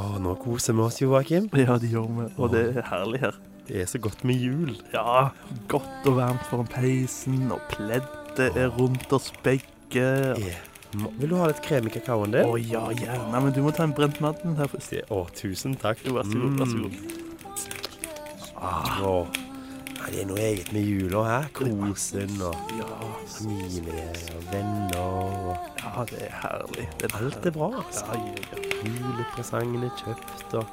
Å, nå koser vi oss, Joakim. Ja, det gjør vi, og det er herlig her. Det er så godt med jul. Ja, godt og varmt foran peisen, og pleddet er rundt oss begge. Eh, må- Vil du ha litt krem i kakaoen Å din? ja, gjerne, men du må ta en brent madden her først. Det- Å, tusen takk. Jo, Vær så god, vær så god. Mm, å. Nei, det er noe eget med jula her. Kosen og Ja, familie og venner. Og ja, det er herlig. Det er alt er bra. altså. Ja, ja, ja. Julepresangene er kjøpt og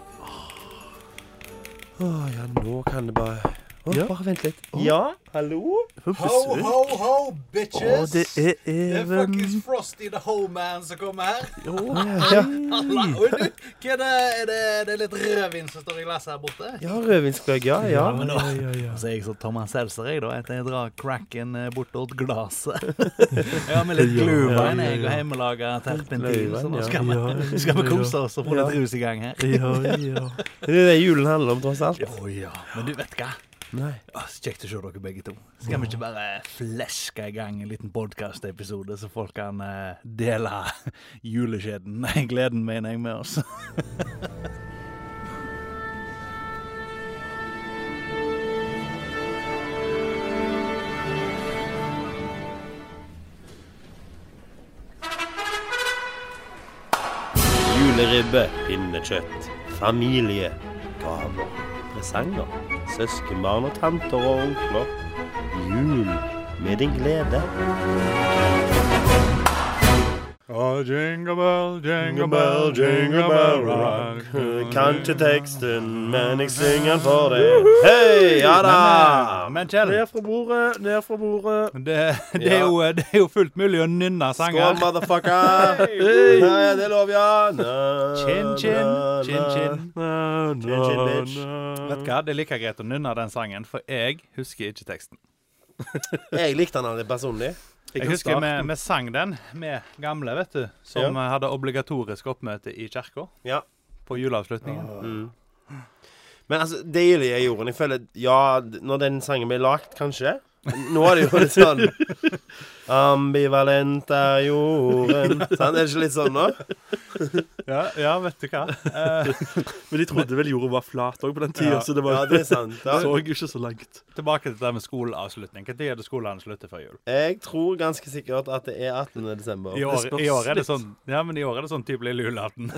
Å ja, nå kan det bare Å, Ja. bare vent litt. Ja, hallo? For Ho, besøk. ho, ho, Å, bitches! det er Det er Even. fuckings Frosty the Hole Man som kommer her. Å, Ja. Halla. Oi, du, hva er det? Er det, det er litt rødvin som står i glasset her borte? Ja, rødvinsgløgg, ja. ja. men ja, ja, ja. Så er jeg som Thomas Seltzer, jeg, da. Etter jeg drar cracken eh, bort til glasset. Jeg har med litt Ja, gløhvein ja, ja, jeg og ja. hjemmelaga terpentin, Gløhvein, så nå ja. skal Ja, ja, vi, skal vi ja. kose oss og få Ja. litt rus i gang her. Ja, ja. Det er det julen handler om, tross alt. Å ja. Men du vet hva? Nei. Å, Ah, så Kjekt å se dere begge to. Skal vi ikke bare fleske i gang en liten podkastepisode, så folk kan eh, dele juleskjeden, nei, gleden, mener jeg, med oss? Juleribbe, pinnekjøtt, familie, gaver, presanger, søskenbarn og tanter og onkler. Jul med din glede. Oh, jingle bell, jingle bell, jingle bell rock. Kan ikke teksten, men jeg synger den for deg. Hei, ja da! Men, eh, men Kjell, Ned fra bordet, ned fra bordet. det, det, er jo, det er jo fullt mulig å nynne Skål, sanger. motherfucker! Nei, det lover jeg. Na, Chin, chin, na, chin, na. chin. Na, na, Chin, chin, bitch. na. Vet du hva, Det er like greit å nynne den sangen, for jeg husker ikke teksten. Jeg likte han litt personlig. Jeg kan husker vi, starte. vi sang den med gamle, vet du, som eh, hadde obligatorisk oppmøte i kirka Ja. på juleavslutningen. Men altså, deilig er jorden. Jeg føler Ja, d- når den sangen ble lagt, kanskje. Nå er det jo litt sånn Ambivalent er jorden Sant? Er det ikke litt sånn nå? Ja, ja, vet du hva. Eh, Men de trodde vel jorda var flat òg på den tida, Ja. så det Ja, var, det er sant. så Ja. jo ikke så langt. tilbake til det med skoleavslutning. Når er det skolene slutter før jul? Jeg tror ganske sikkert at det er 18. desember. I år, spørs i år er litt. det sånn Ja, men i år er det sånn type lille julaften.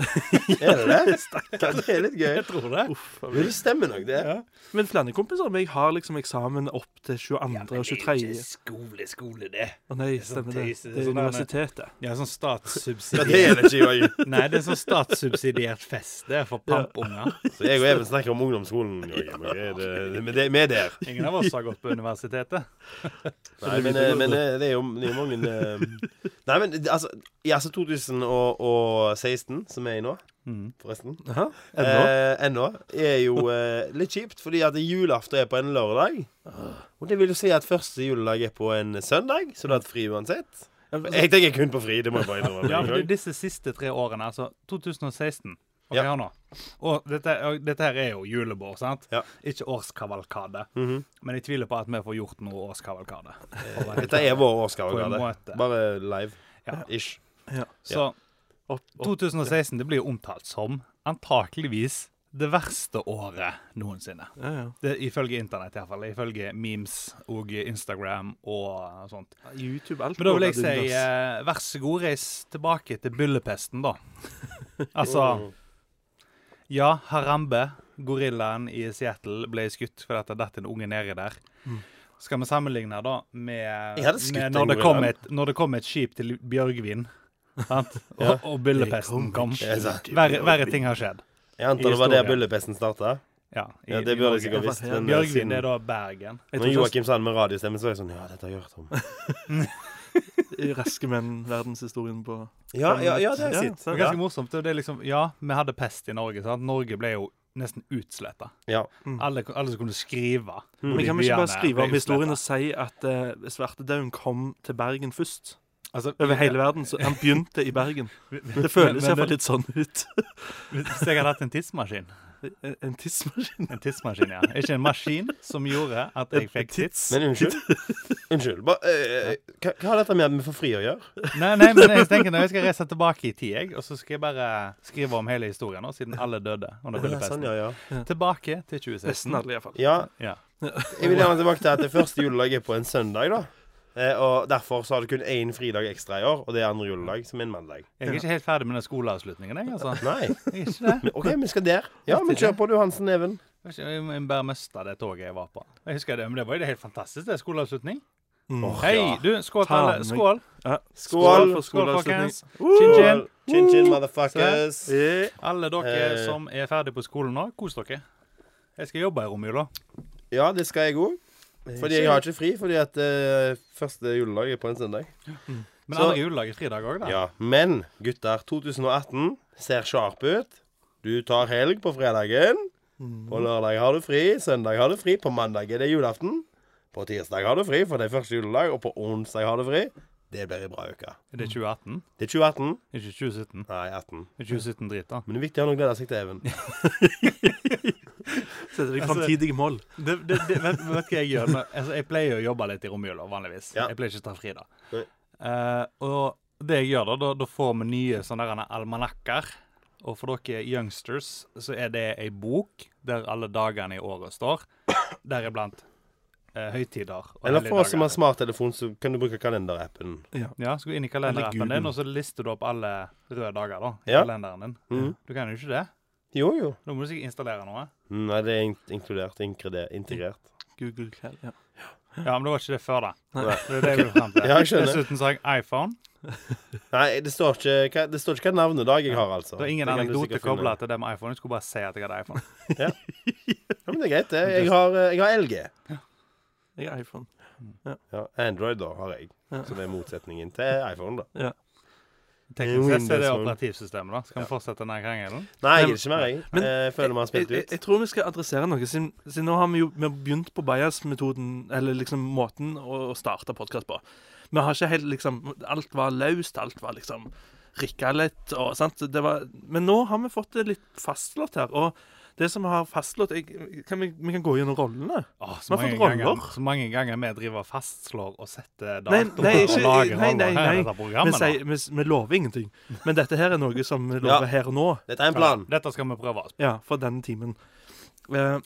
Er det det? Ja, Det er litt gøy. Jeg tror det. Jo, det stemmer nok, det. Ja. Men flere kompiser av meg har liksom eksamen opp til 22. og 23. skole, skole, det. Å nei, sånn stemmer det. tøys, det er Det er sånn der- universitetet. Ja, sånn Ja, det statssubsidiert er det ikke, Joakim. Nei, det er sånn statssubsidiert fest. Det er for pampunger. Så jeg og Even snakker om ungdomsskolen. Joakim, ok? Det- det- Men det vi er der. Ingen av oss har gått på universitetet. Nei, men, eh, men eh, det er jo, det er jo mange eh, Nei, men altså, i altså 2016, som er i nå, forresten Aha, ennå. Eh, Ennå. er jo eh, litt kjipt, fordi at julaften er på en lørdag. Og det vil jo si at første juledag er på en søndag, så du har hatt fri uansett. Jeg tenker kun på fri. det må jeg bare innrømme. Ja, for disse siste tre årene, altså 2016 Ok, Ja. hør nå. Og dette, og dette her er jo julebord, sant? Ja. Ikke årskavalkade. Men jeg tviler på at vi får gjort noe årskavalkade. for å være helt Dette er vår På en årsgave. måte. Bare live. Ja. Ish. Så Opp, opp. 2016 det blir jo omtalt som antakeligvis det verste året noensinne. Ja, ja. Det, ifølge internett, iallfall. Ifølge memes og Instagram og sånt. YouTube, alt Men da vil jeg går si ad undas. eh, vær så god, reis tilbake til byllepesten, da. Altså Ja, Harambe, gorillaen i Seattle, ble skutt fordi at det datt en unge nedi der. Skal vi sammenligne da med, Mm. Jeg hadde skutt med den når, det kom gorillaen. et, når det kom et skip til Bjørgvin, sant? Og, Ja. og byllepesten kom. Ja, sant. Verre, verre ting har skjedd. Jeg antar det var der byllepesten starta. Ja, i- Ja, i det burde jeg Norge. sikkert visst. men, eh, Bjørgvin det siden- er da Bergen. Jeg Når tror Joakim sa det med radiostemmen, så var jeg sånn Ja, dette har jeg hørt om. ikke i Raske menn, verdenshistorien på Ja, ja, ja det har jeg sett. Det var ganske morsomt. og Det er liksom, ja, vi hadde pest i Norge. sant? Norge ble jo nesten utsletta. Ja. Alle, alle som kunne skrive. Men kan vi ikke bare skrive om historien og og si at uh, svartedauden kom til Bergen først? altså, Over hele verden. Så han begynte i Bergen. Det føles Men- men- iallfall litt sånn ut. Hvis jeg hadde hatt en tidsmaskin, En, en tidsmaskin? En tidsmaskin, ja. Ikke en maskin som gjorde at jeg fikk tids. Men unnskyld. Unnskyld. Ba, eh, hva, hva har dette med at vi får fri å gjøre? Nei, nei, men jeg tenker når jeg skal reise tilbake i tid, jeg, og så skal jeg bare skrive om hele historien, nå, siden alle døde under Ja, sånn, byllepesten. ja, ja. Tilbake til 2016. Nesten alle, iallfall. ja. Ja. Jeg vil gjerne tilbake til at det første juledag er på en søndag, da. Eh, og Derfor så har du kun én fridag ekstra i år, og det er andre juledag, som er en mandag. Jeg er ikke helt ferdig med den skoleavslutningen, jeg, altså. Nei. Jeg er ikke det. Men, OK, vi skal der. Ja, men kjør på, du, Hansen Even. Jeg vet ikke, Jeg jeg bare mista det toget jeg var på. Jeg husker Det men det var jo det helt fantastisk, det. Skoleavslutning. Hei, ja. du, skål til Ta alle. meg. Skål. Skål. for Skål, skoleavslutning. folkens. Uh. Chin, chin. Chin chin, motherfuckers. Eh, Alle dere Eh. som er ferdig på skolen nå, kos dere. Jeg skal jobbe i romjula. Ja, det skal jeg òg. Fordi jeg har Eh, ikke fri, fordi at eh, første juledag er på en søndag. Men Så- andre juledag er fridag òg, da. Ja, Men gutter, 2018 ser sharp ut. Du tar helg på fredagen. Mm. På lørdag har du fri, søndag har du fri, på mandag er det julaften. På tirsdag har du fri, for det er første juledag, og på onsdag har du fri. Det blir ei bra uke. Er det 2018? Det er 2018. Ikke 2017. Nei, 18. Er 2017 drit, da. Men det er viktig å ha noe å glede seg til, Even. Setter deg Altså- framtidige mål. Det, det, det, vet, vet hva jeg gjør? Når, altså, jeg pleier å jobbe litt i romjula vanligvis. Ja. Jeg pleier ikke å ta fri da. Nei. Eh, og det jeg gjør da, da, da får vi nye sånne der almanakker. Og for dere youngsters så er det ei bok der alle dagene i året står. Deriblant eh, høytider og Eller for oss som har helligdager. smarttelefon, så kan du bruke kalenderappen. Ja, så gå inn i Eller kalenderappen Google. din, og så lister du opp alle røde dager da, i Ja. kalenderen din. Mhm. Du kan jo ikke det. Jo, jo. Mm, Da må du sikkert installere noe. Nei, det er in- inkludert. Inkrede- Integrert. Google Cal. Ja. Ja, men det var ikke det før, da. Nei. Det er det jeg vil frem til. Ja, jeg skjønner. Dessuten så har jeg iPhone. Nei, det står ikke hva, det står ikke hva navnedag jeg har, altså. Det er ingen kan du anekdote sikkert finne. kobla til det med iPhone. Jeg skulle bare si at jeg hadde iPhone. Ja, men det er greit, det. Jeg har, eh, jeg har LG. Jeg har iPhone. Ja, Android, da, har jeg. Ja. Så det er motsetningen til iPhone, da. Teknisk sett så er det Windows-mann. operativsystemet, da. Så kan vi fortsette denne krangelen. Nei, jeg gidder Men- ikke mer, jeg. Men- jeg føler vi har spilt Jeg, ut. jeg tror vi skal adressere noe, siden, siden nå har vi jo vi har begynt på bias-metoden, eller liksom måten å, å starte podkast på. Vi har ikke helt liksom Alt var løst, alt var liksom rikka litt og sant. Det var, men nå har vi fått det litt fastslått her. Og det som har fastslått jeg, kan vi, vi kan gå gjennom rollene. Åh, så, Vi har mange fått ganger, roller. så mange ganger vi driver og fastslår og setter Nei, datoer nei, og ikke- nei, nei, lager roller her i nei. dette Vi, programmet. da. sier, vi, vi lover ingenting. Men dette her er noe som vi lover Ja. her og nå. Dette er en plan. Dette skal vi prøve oss på. Ja, for denne timen. Eh,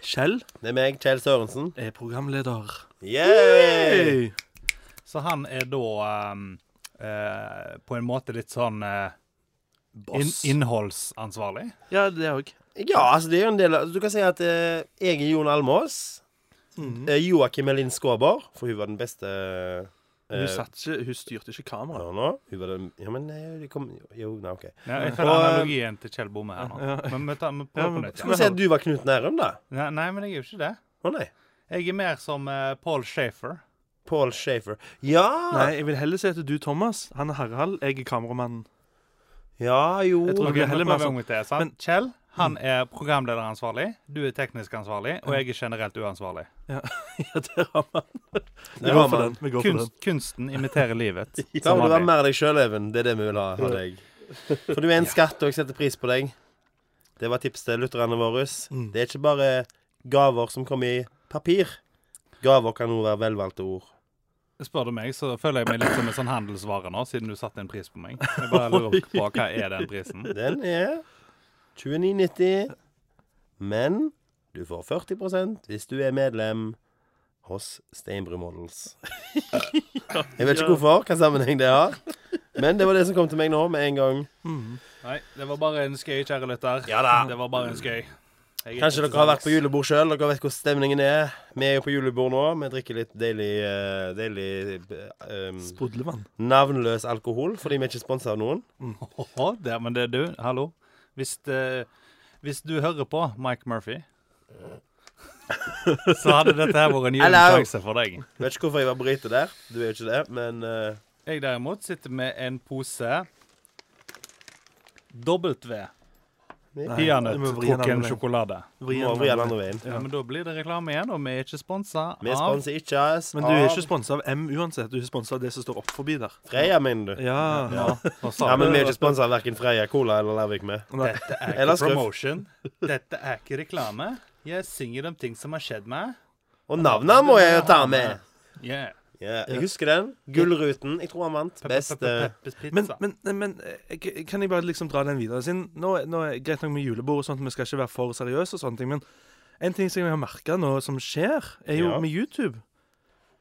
Kjell Det er meg, Kjell Sørensen. er programleder. Yeah! Så han er da ehm, eh, på en måte litt sånn eh, inn, innholdsansvarlig. Ja, det òg. Ja, altså, det er jo en del av Du kan si at eh, jeg er Jon Almås. Mm. Eh, Joakim Elin Skåber, for hun var den beste eh, Hun, satt ikke, hun styrte ikke nå, kameraet. nå. Hun var den Ja, men eh, de kom Jo, nei, OK. Ja, jeg Og, føler eh, analogien til Kjell Bomme her nå. Men vi, tar, vi prøver på men- nytt. Skal vi si at du var Knut Nærum, da? Nei, nei, men jeg er jo ikke det. Å nei. Jeg er mer som eh, Paul Shafer. Paul Shafer. Ja! Nei, jeg vil heller si at du, Thomas, han er Harald, jeg er kameramannen. Ja, jo. Jeg tror- Ok, det blir heller nå mer prøver sånn- jeg til, sant? Men- Mm. Kjell han er programlederansvarlig, du er teknisk ansvarlig, og jeg er generelt uansvarlig. Ja, der har man. Vi Der går har for man. den. Vi går for den. Kunst, kunsten imiterer livet. Da som må du være vanlig. mer deg sjøl, Even. Det er det vi vil ha av deg. For du er en skatt, og jeg setter pris på deg. Det var tips til lytterne våre. Mm. Det er ikke bare gaver som kommer i papir. Gaver kan også være velvalgte ord. Spør du meg, så føler jeg meg litt som en sånn handelsvare nå, siden du satte en pris på meg. Jeg bare lurer på hva er den prisen. Den er 29,90, men du får 40 hvis du er medlem hos Steinbru Models. Jeg vet ikke hvorfor, hva sammenheng det har, men det var det som kom til meg nå med en gang. Nei, det var bare en skøy, kjære lytter. Ja da. Det var bare en skøy. Jeg er Kanskje ikke dere har vært på til salgs. julebord sjøl. Dere vet hvordan stemningen er. Vi er jo på julebord nå. Vi drikker litt deilig, eh, deilig eh, um, Sprudlevann. navnløs alkohol fordi vi er ikke sponsa av noen. Åhå, der, men det er du. Hallo. Hvis, eh, hvis du hører på Mike Murphy, så hadde dette her vært en gyllen Hello. sjanse for deg. Vet ikke hvorfor jeg var brite der. Du er jo ikke det, men eh, Jeg derimot sitter med en pose W. Nei, du må Peanøtt, vri den trukken andre veien. sjokolade. Vri den Må andre vri den veien. andre veien. Ja, Men da blir det reklame igjen, og vi er ikke sponsa Vi av sponser ikke oss Men du er av ikke sponsa av M uansett. Du er sponsa av det som står opp forbi der. Freia, mener du? Ja. Ja, nå sa Ja, men vi vi er det. ikke sponsa av verken Freia Cola eller Larvik med. Nei. Dette er Eller ikke skuff. promotion. Dette er ikke reklame. Jeg synger om ting som har skjedd meg. Og navnene må jeg jo ta med. Yeah. Ja, jeg husker den. Gullruten. Jeg tror han vant. Beste Peppers pizza. Men, men, men eh, k- kan jeg bare liksom dra den videre? Siden nå, nå er Greit nok med julebord og sånt, vi skal ikke være for seriøse, og sånne ting, men en ting som jeg har merka nå, som skjer, er jo Ja. med YouTube.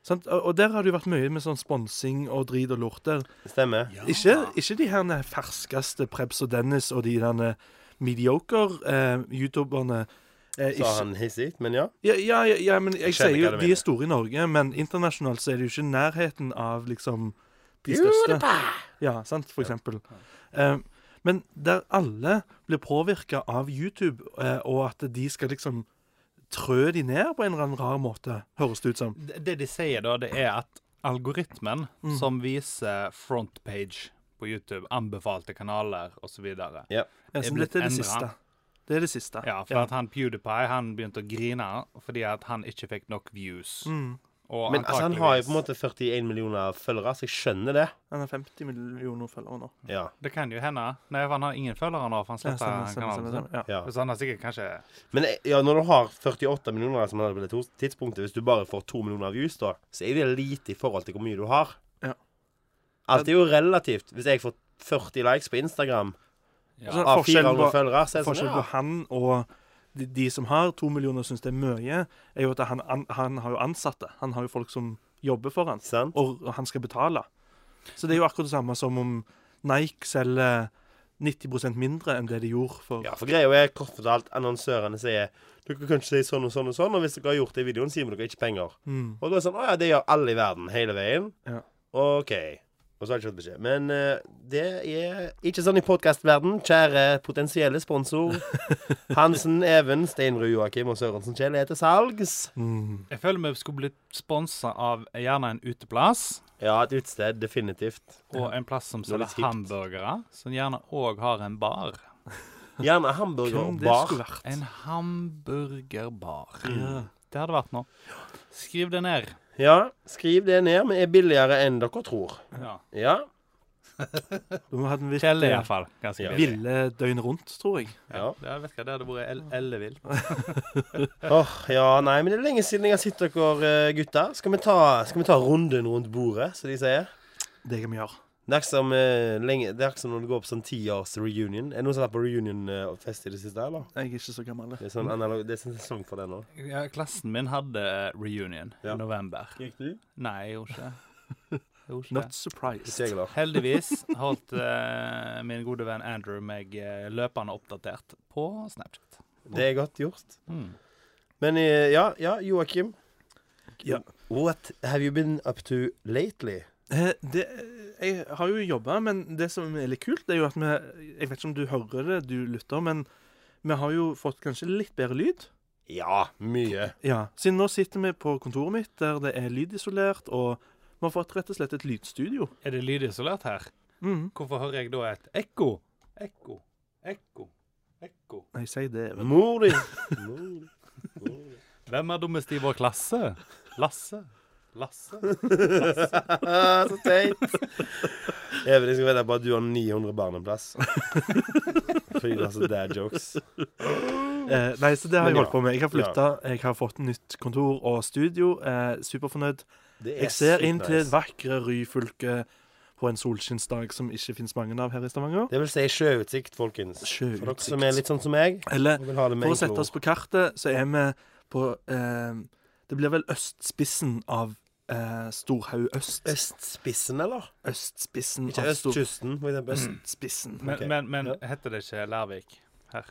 Sant? Og og der har det jo vært mye med sånn sponsing og drit og lort der. stemmer. Ikke, ikke de her ferskeste Prebz og Dennis og de der mediocre eh, youtuberne. Eh, Sa ikke- han hissig, men ja. ja, ja, ja, ja, men skjønner jeg sier jo hva du de mener. er store i Norge, men internasjonalt så er det jo ikke i nærheten av liksom de største. Ja, sant, for eksempel. Eh, men der alle blir påvirka av YouTube, eh, og at de skal liksom trø de ned på en eller annen rar måte, høres det ut som. Det det de sier, da, det er at algoritmen som viser frontpage på YouTube, anbefalte kanaler osv. ja. Ja, Er som blitt dette er det endret. siste. Det er det siste. Ja, for at han PewDiePie han begynte å grine fordi at han ikke fikk nok views. Og Men altså, han har jo på en måte 41 millioner følgere, så jeg skjønner det. Han har 50 millioner følgere nå. Ja. Det kan jo hende. Nei, for han har ingen følgere nå, for han Ja, sletta stemmer, stemmer, kanalen. stemmer, sin. stemmer. Ja. ja. Så han har sikkert kanskje Men eh, ja, når du har 48 millioner, som han hadde på det to- tidspunktet, hvis du bare får 2 millioner views, da, så er det lite i forhold til hvor mye du har. Ja. Alt er jo relativt. Hvis jeg får 40 likes på Instagram Ja. Så av forskjellen 400 på- følgere, så er det Forskjellen sånn på ja. han og de, de som har to millioner og syns det er mye, er jo at han, an- han har jo ansatte. Han har jo folk som jobber for han, Sant? og, og han skal betale. Så det er jo akkurat det samme som om Nike selger 90 mindre enn det de gjorde for Ja, for greia er kort fortalt annonsørene sier Dere kan ikke si sånn og sånn og sånn, og hvis dere har gjort det i videoen, så gir vi dere ikke penger. Mm. Og da er det sånn Å ja, det gjør alle i verden hele veien. Ja. OK. Og så har jeg ikke fått beskjed. Men eh, det er ikke sånn i podkastverden. Kjære potensielle sponsor. Hansen, Even, Steinrud, Joakim og Sørensen Kjell er til salgs. Mm. Jeg føler vi skulle blitt sponsa av gjerne en uteplass. Ja, et utested. Definitivt. Og en plass som selger litt hipt. hamburgere, som gjerne òg har en bar. Gjerne hamburger Hvem og det bar. skulle vært. En hamburgerbar. Ja. Mm. Det hadde vært noe. Skriv det ned. Ja, skriv det ned. Vi er billigere enn dere tror. Ja. Ja. Da hadde vi Kjell er hatt iallfall ganske Ja. eh, billig. ville døgnet rundt, tror jeg. ja. Ja, vet ikke, det hadde vært el ellevilt. Åh, ja, nei, men det er lenge siden jeg har sett dere eh, gutter. Skal vi ta, skal vi ta runden rundt bordet, som de sier? Det kan vi gjøre. Det er ikke som, eh, lenge, det er ikke som når du går på sånn tiårs reunion. Er det noen som har vært på reunion-fest i det siste, eller? Jeg er ikke så gammel. Det er sånn analog, det er sånn sesong for det nå. Ja, klassen min hadde eh, reunion Ja. i november. Gikk du? Nei, jeg gjorde ikke det. Jeg gjorde ikke Not det. Ikke surprised. jeg, da. Heldigvis holdt eh, min gode venn Andrew meg eh, løpende oppdatert på Snapchat. Det er godt gjort. Mm. Men eh, ja, ja, Joakim. Ja. What have you been up to lately? Eh, Det, jeg har jo jobba, men det som er litt kult, det er jo at vi Jeg vet ikke om du hører det, du lytter, men vi har jo fått kanskje litt bedre lyd. Ja, mye. Ja, Siden nå sitter vi på kontoret mitt, der det er lydisolert, og vi har fått rett og slett et lydstudio. Er det lydisolert her? Mm. Hvorfor hører jeg da et ekko? Ekko, ekko, ekko. Nei, si det. vel. Mor di. Mor di. Mor di. Hvem er dummest i vår klasse? Lasse. Lasse. Så teit. Even, jeg skal vite på at du har 900 barneplass. Fordi du har så dad jokes. Eh, nei, så det har Men jeg ja. holdt på med. Jeg har flytta, jeg har fått nytt kontor og studio. Eh, superfornøyd. Det er Jeg ser sykt inn til nice. vakre Ryfylke på en solskinnsdag som ikke fins mange av her i Stavanger. Det vil si sjøutsikt, folkens. For dere som er Sjøutsikt. litt sånn som meg. Eller og vil ha det med For å sette enkle oss ord. på kartet, så er vi på eh, Det blir vel østspissen av eh, Storhaug øst. Østspissen, eller? Østspissen Ikke av Stor- østkysten, for Mm. eksempel. Øst. Østspissen. Men, Ok. men, men Ja. heter det ikke Lærvik her?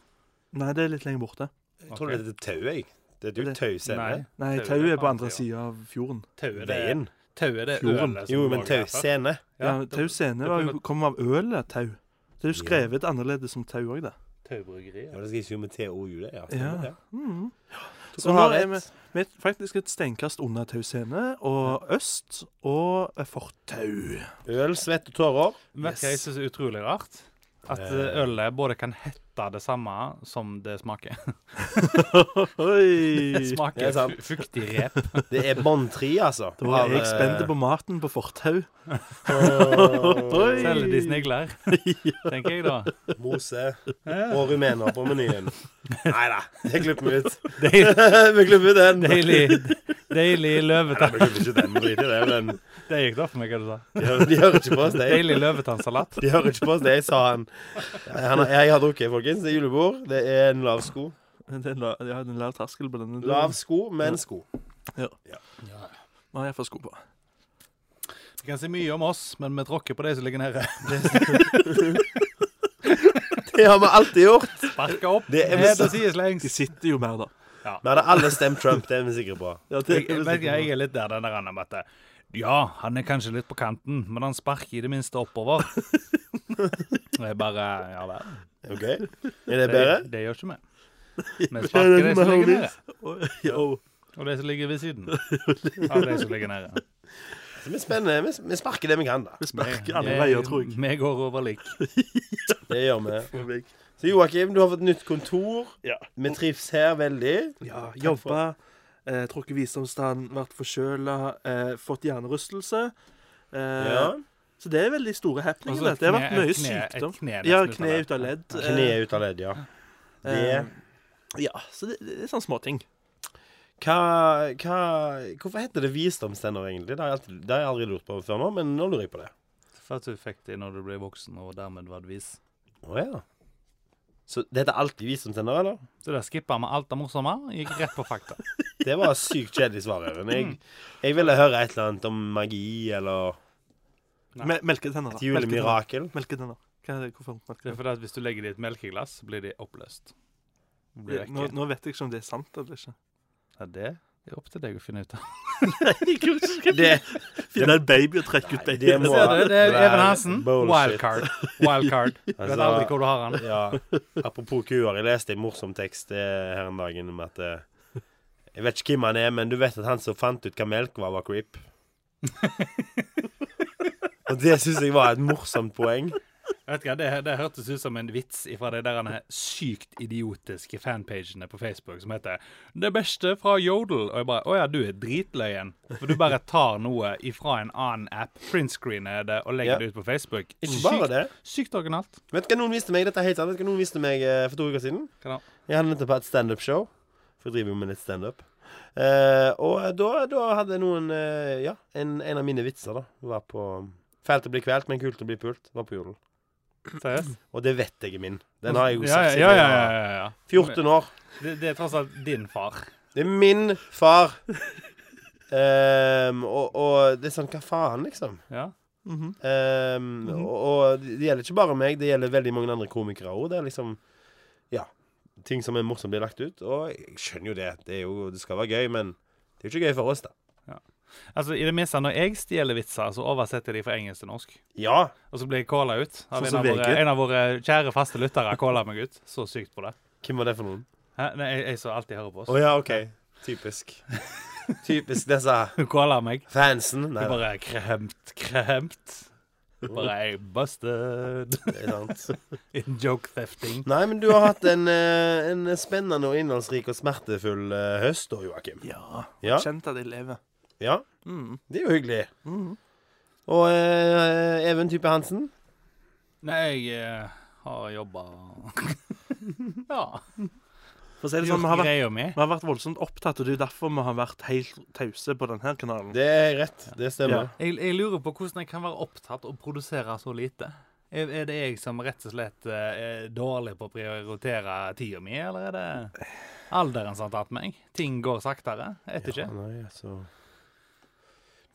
Nei, det er litt lenger borte. Jeg tror det heter tau, jeg. Det er jo Det- tauscene. Nei. Nei, Tau er Tau er på på andre andre sida av fjorden. Tauet det, Veien. tauet det Fjorden. ølet som Jo, lå men der før. tauscene. Ja, Ja, Tau scene var jo, kom av ølet Tau. Det er jo skrevet annerledes som Tau òg, det. Ja, Taubryggeriet. det skrives jo med TOU, det. Ja. Ja. stemmer det. Mm. Tror Så du nå har rett. er vi, vi er faktisk et steinkast under Tau scene og øst og eh, Fortau. Øl, svett og tårer. Vet du hva jeg Yes. synes er utrolig rart? At eh, ølet både kan hete det samme som det smaker. Det Oi! Det er smaker sant. fu- fuktig rep. Det er bånd tre, altså. Da var jeg spent på maten på fortau. på Oi! Selger de snegler, tenker jeg da. Mose og rumener på menyen. Nei da, det klipper vi ut. Deil, vi klipper ut den. deilig deilig løvetann. Vi klipper ikke den, vi driter i det. Men Det gikk da for meg, hva du sa. de hører, de hører ikke på oss, de. Deilig løvetannsalat. De hører ikke på oss, de, sa han. han har- jeg har drukket, folkens. Det er julebord. Det er en lav sko. Det er la, jeg hadde en lav terskel på denne. Lav sko, men sko. Nå har jeg fått sko på. Vi kan si mye om oss, men vi tråkker på de som ligger nede. Det har vi alltid gjort. Sparka opp. Det er Ned vel- og sideslengs. De sitter jo mer, da. Vi hadde alle stemt Trump, det er vi sikre på. Ja, det, Jeg, jeg, vet ikke, jeg er litt der den der andre med at Ja, han er kanskje litt på kanten, men han sparker i det minste oppover. Og jeg bare Ja vel. OK? Er det bedre? Det, det gjør ikke vi. Vi sparker de som ligger nede, Yo. og de som ligger ved siden av de som ligger nede. Så vi, spenner, vi, vi sparker det vi kan, da. Vi sparker alle veier, tror jeg. Vi går over lik. Det gjør vi. Så Joakim, du har fått nytt kontor. Ja. Vi trives her veldig. Ja, Takk jobba, eh, trukket visdomstann, vært forkjøla, eh, fått hjernerystelse. Eh, Ja. Så det er veldig store happeninger. Altså, dette. det har kne- vært mye et kne- et sykdom. kne nesten ja, ut av kne ut ledd. av ledd. eh, Kneet ut av ledd, ja. eh, Det ja, så det, det er sånne småting. Hva, hva Hvorfor heter det visdomstenner, egentlig? Det har jeg, alltid, det har jeg aldri lurt på før nå, men nå lurer jeg på det. For at du fikk det når du ble voksen og dermed var vis. Å ja. Så det heter alltid visdomstenner, eller? Så der skippa vi alt det morsomme og gikk rett på fakta. Det var sykt kjedelig svar, Even. Jeg, jeg ville høre et eller annet om magi eller Nei. Me melketenner, da. et julemirakel. Melketenner. melketenner. Hva er det? Hvorfor? Det er fordi at hvis du legger det i et melkeglass, blir de oppløst. Blir det Melketenner. Nå, ikke. nå vet jeg ikke om det er sant eller ikke. Ja, det er opp til deg å finne ut av. Det, Finne en baby og trekke ut nei, baby. det må Det er Even være Hansen. bullshit. Wildcard. Wildcard. Du vet Altså- aldri hvor du har han. Ja. Apropos kuer, jeg leste en morsom tekst eh, her en dag om at eh, Jeg vet ikke hvem han er, men du vet at han som fant ut hva melk var, var creep. Og det syns jeg var et morsomt poeng. Vet du hva, det, det hørtes ut som en vits fra de der sykt idiotiske fanpagene på Facebook som heter 'Det beste fra Jodel'. Og jeg bare 'Å ja, du er dritløyen'. For du bare tar noe ifra en annen app, printscreener det og legger Ja. det ut på Facebook. Ikke bare sykt, det. sykt originalt. Vet du hva noen viste meg Dette er helt sant. Vet du hva noen viste meg eh, for to uker siden? Hva da? Jeg hadde nettopp hatt standup-show. For jeg driver jo med litt standup. Eh, og da, da hadde noen eh, Ja, en, en av mine vitser, da, var på Fælt å bli kvelt, men kult å bli pult. Var på jorden. Seriøst? Og det vet jeg er min. Den har jeg jo Ja, sagt ja, siden ja. jeg ja, var ja, ja. 14 år. Det, det er tross alt din far. Det er min far. Ehm, og, og det er sånn Hva faen, liksom? Ja. Mhm. Ehm, og, og det gjelder ikke bare meg, det gjelder veldig mange andre komikere òg. Det er liksom Ja. Ting som er morsomt, blir lagt ut. Og jeg skjønner jo det. Det, er jo, det skal være gøy, men det er jo ikke gøy for oss, da. Altså, I det minste, når jeg stjeler vitser, så oversetter jeg de fra engelsk til norsk. Ja. Og så blir jeg calla ut. Sånn Av en, som av våre, VG. en av våre kjære faste lyttere calla meg ut. Så sykt på det. Hvem var det for noen? Hæ? Nei, jeg, jeg som alltid hører Å på oss. ja, OK. Typisk. Typisk disse Hun calla meg. fansen. Nei, Jeg da, bare kremt, kremt. Bare jeg busted det er sant. in joke thefting. Nei, men du har hatt en, eh, en spennende og innholdsrik og smertefull eh, høst da, Joakim. Ja. Ja? Kjent at jeg lever. ja? Mm. Det er jo hyggelig. Mhm. Og eh, Even Type Hansen? Nei, jeg eh, har jobba Ja. For å si det sånn, vi Gjort har vært greia mi. Vi har vært voldsomt opptatt, og det er jo derfor vi har vært helt tause på denne kanalen. Det er rett. Det stemmer. stemmer. Jeg, jeg lurer på hvordan jeg kan være opptatt og produsere så lite. Er, er det jeg som rett og slett eh, er dårlig på å prioritere tida mi, eller er det alderen som har tatt meg? Ting går saktere. Jeg vet ikke. nei, altså.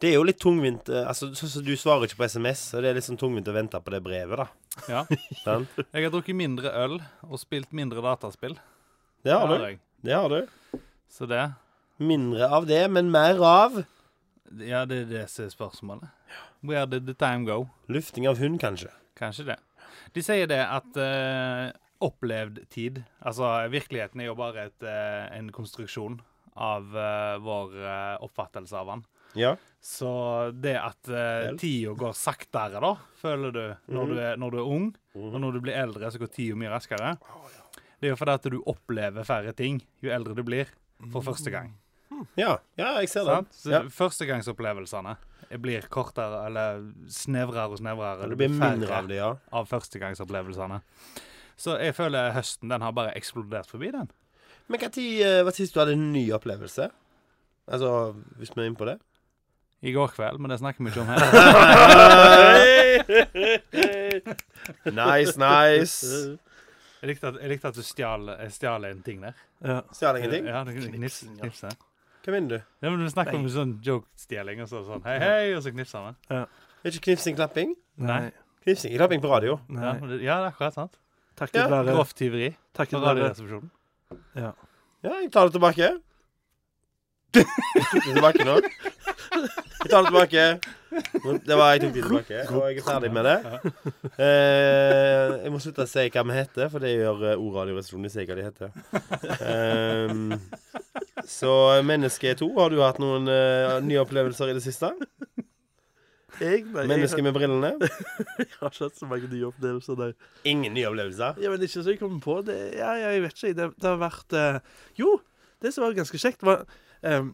Det er jo litt tungvint eh, altså, så, så Du svarer ikke på SMS, og det er litt sånn tungvint å vente på det brevet, da. Ja. Sant? Jeg har drukket mindre øl og spilt mindre dataspill. Det har har du. jeg. Det har du. Så det Mindre av det, men mer av Ja, det er det som er spørsmålet. Where did the time go? lufting av hund, kanskje. Kanskje det. De sier det at eh, opplevd tid Altså, virkeligheten er jo bare et, eh, en konstruksjon av eh, vår eh, oppfattelse av den. Ja. Så det at uh, Vel. Mhm. tida går saktere, da, føler du, når, du er, når du er ung. Og når du blir eldre, så går tida mye raskere. Det er jo fordi at du opplever færre ting jo eldre du blir, for første gang. ja. Ja, jeg ser den. Sant? Så Mhm. Ja. Førstegangsopplevelsene blir kortere, eller snevrere og snevrere. Det blir mindre av det, ja. av førstegangsopplevelsene. Så jeg føler høsten den har bare eksplodert forbi, den. Men hva tid, eh, var sist du hadde en ny opplevelse? Altså, hvis vi er inne på det? I går kveld, men det snakker vi ikke om her. Nice, nice. Jeg likte at, jeg likte at du stjal, jeg stjal en ting der. Ja. Stjal ingenting? Ja, du knips, knipse. Hva vinner du? Ja, men du snakker om sånn joke-stjeling og så, sånn hei, hei, og så knipser vi. Er ikke knipsing klapping? Nei. Knipsing klapping på radio. Ja, Nei. men det- ja, det er akkurat sant. Takket Ja, være Grovt tyveri på Takket være Radioresepsjonen. Ja, jeg tar det tilbake. Jeg tok det tilbake nå. Jeg tar det tilbake. Det var jeg tok det tilbake, og jeg er ferdig med det. Eh, jeg må slutte å si hva vi heter, for det gjør eh, ordradioresepsjonen. De sier hva de heter. Ehm, så Menneske 2, har du hatt noen eh, nye opplevelser i det siste? Jeg, nei, Menneske jeg, med brillene? jeg har ikke hatt så mange nye opplevelser, nei. Ingen nye opplevelser. Ja, men ikke så jeg kom på det. Ja, ja, jeg vet ikke. Det, det har vært eh, Jo, det som var ganske kjekt, var em,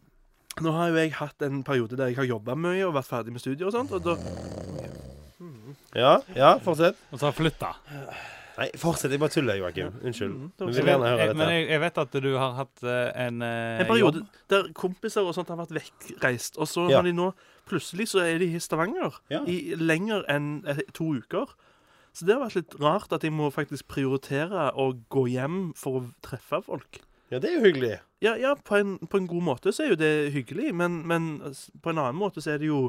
Nå har jo jeg hatt en periode der jeg har jobba mye og vært ferdig med studier og sånt, og da Ja, ja, fortsett. Og så har flytta. Nei, fortsett. Jeg bare tuller, Joakim. Unnskyld. Mm, det var Vi så vil gjerne høre Jeg- Men dette. jeg, jeg vet at du har hatt eh, en, eh, En periode jobb. der kompiser og sånt har vært vekkreist, og så Ja. har de nå Plutselig så er de i Stavanger Ja. i lenger enn eh, to uker. Så det har vært litt rart at jeg må faktisk prioritere å gå hjem for å treffe folk. Ja, det er jo hyggelig. Ja, ja på, en, på en god måte så er jo det hyggelig, men, men s- på en annen måte så er det jo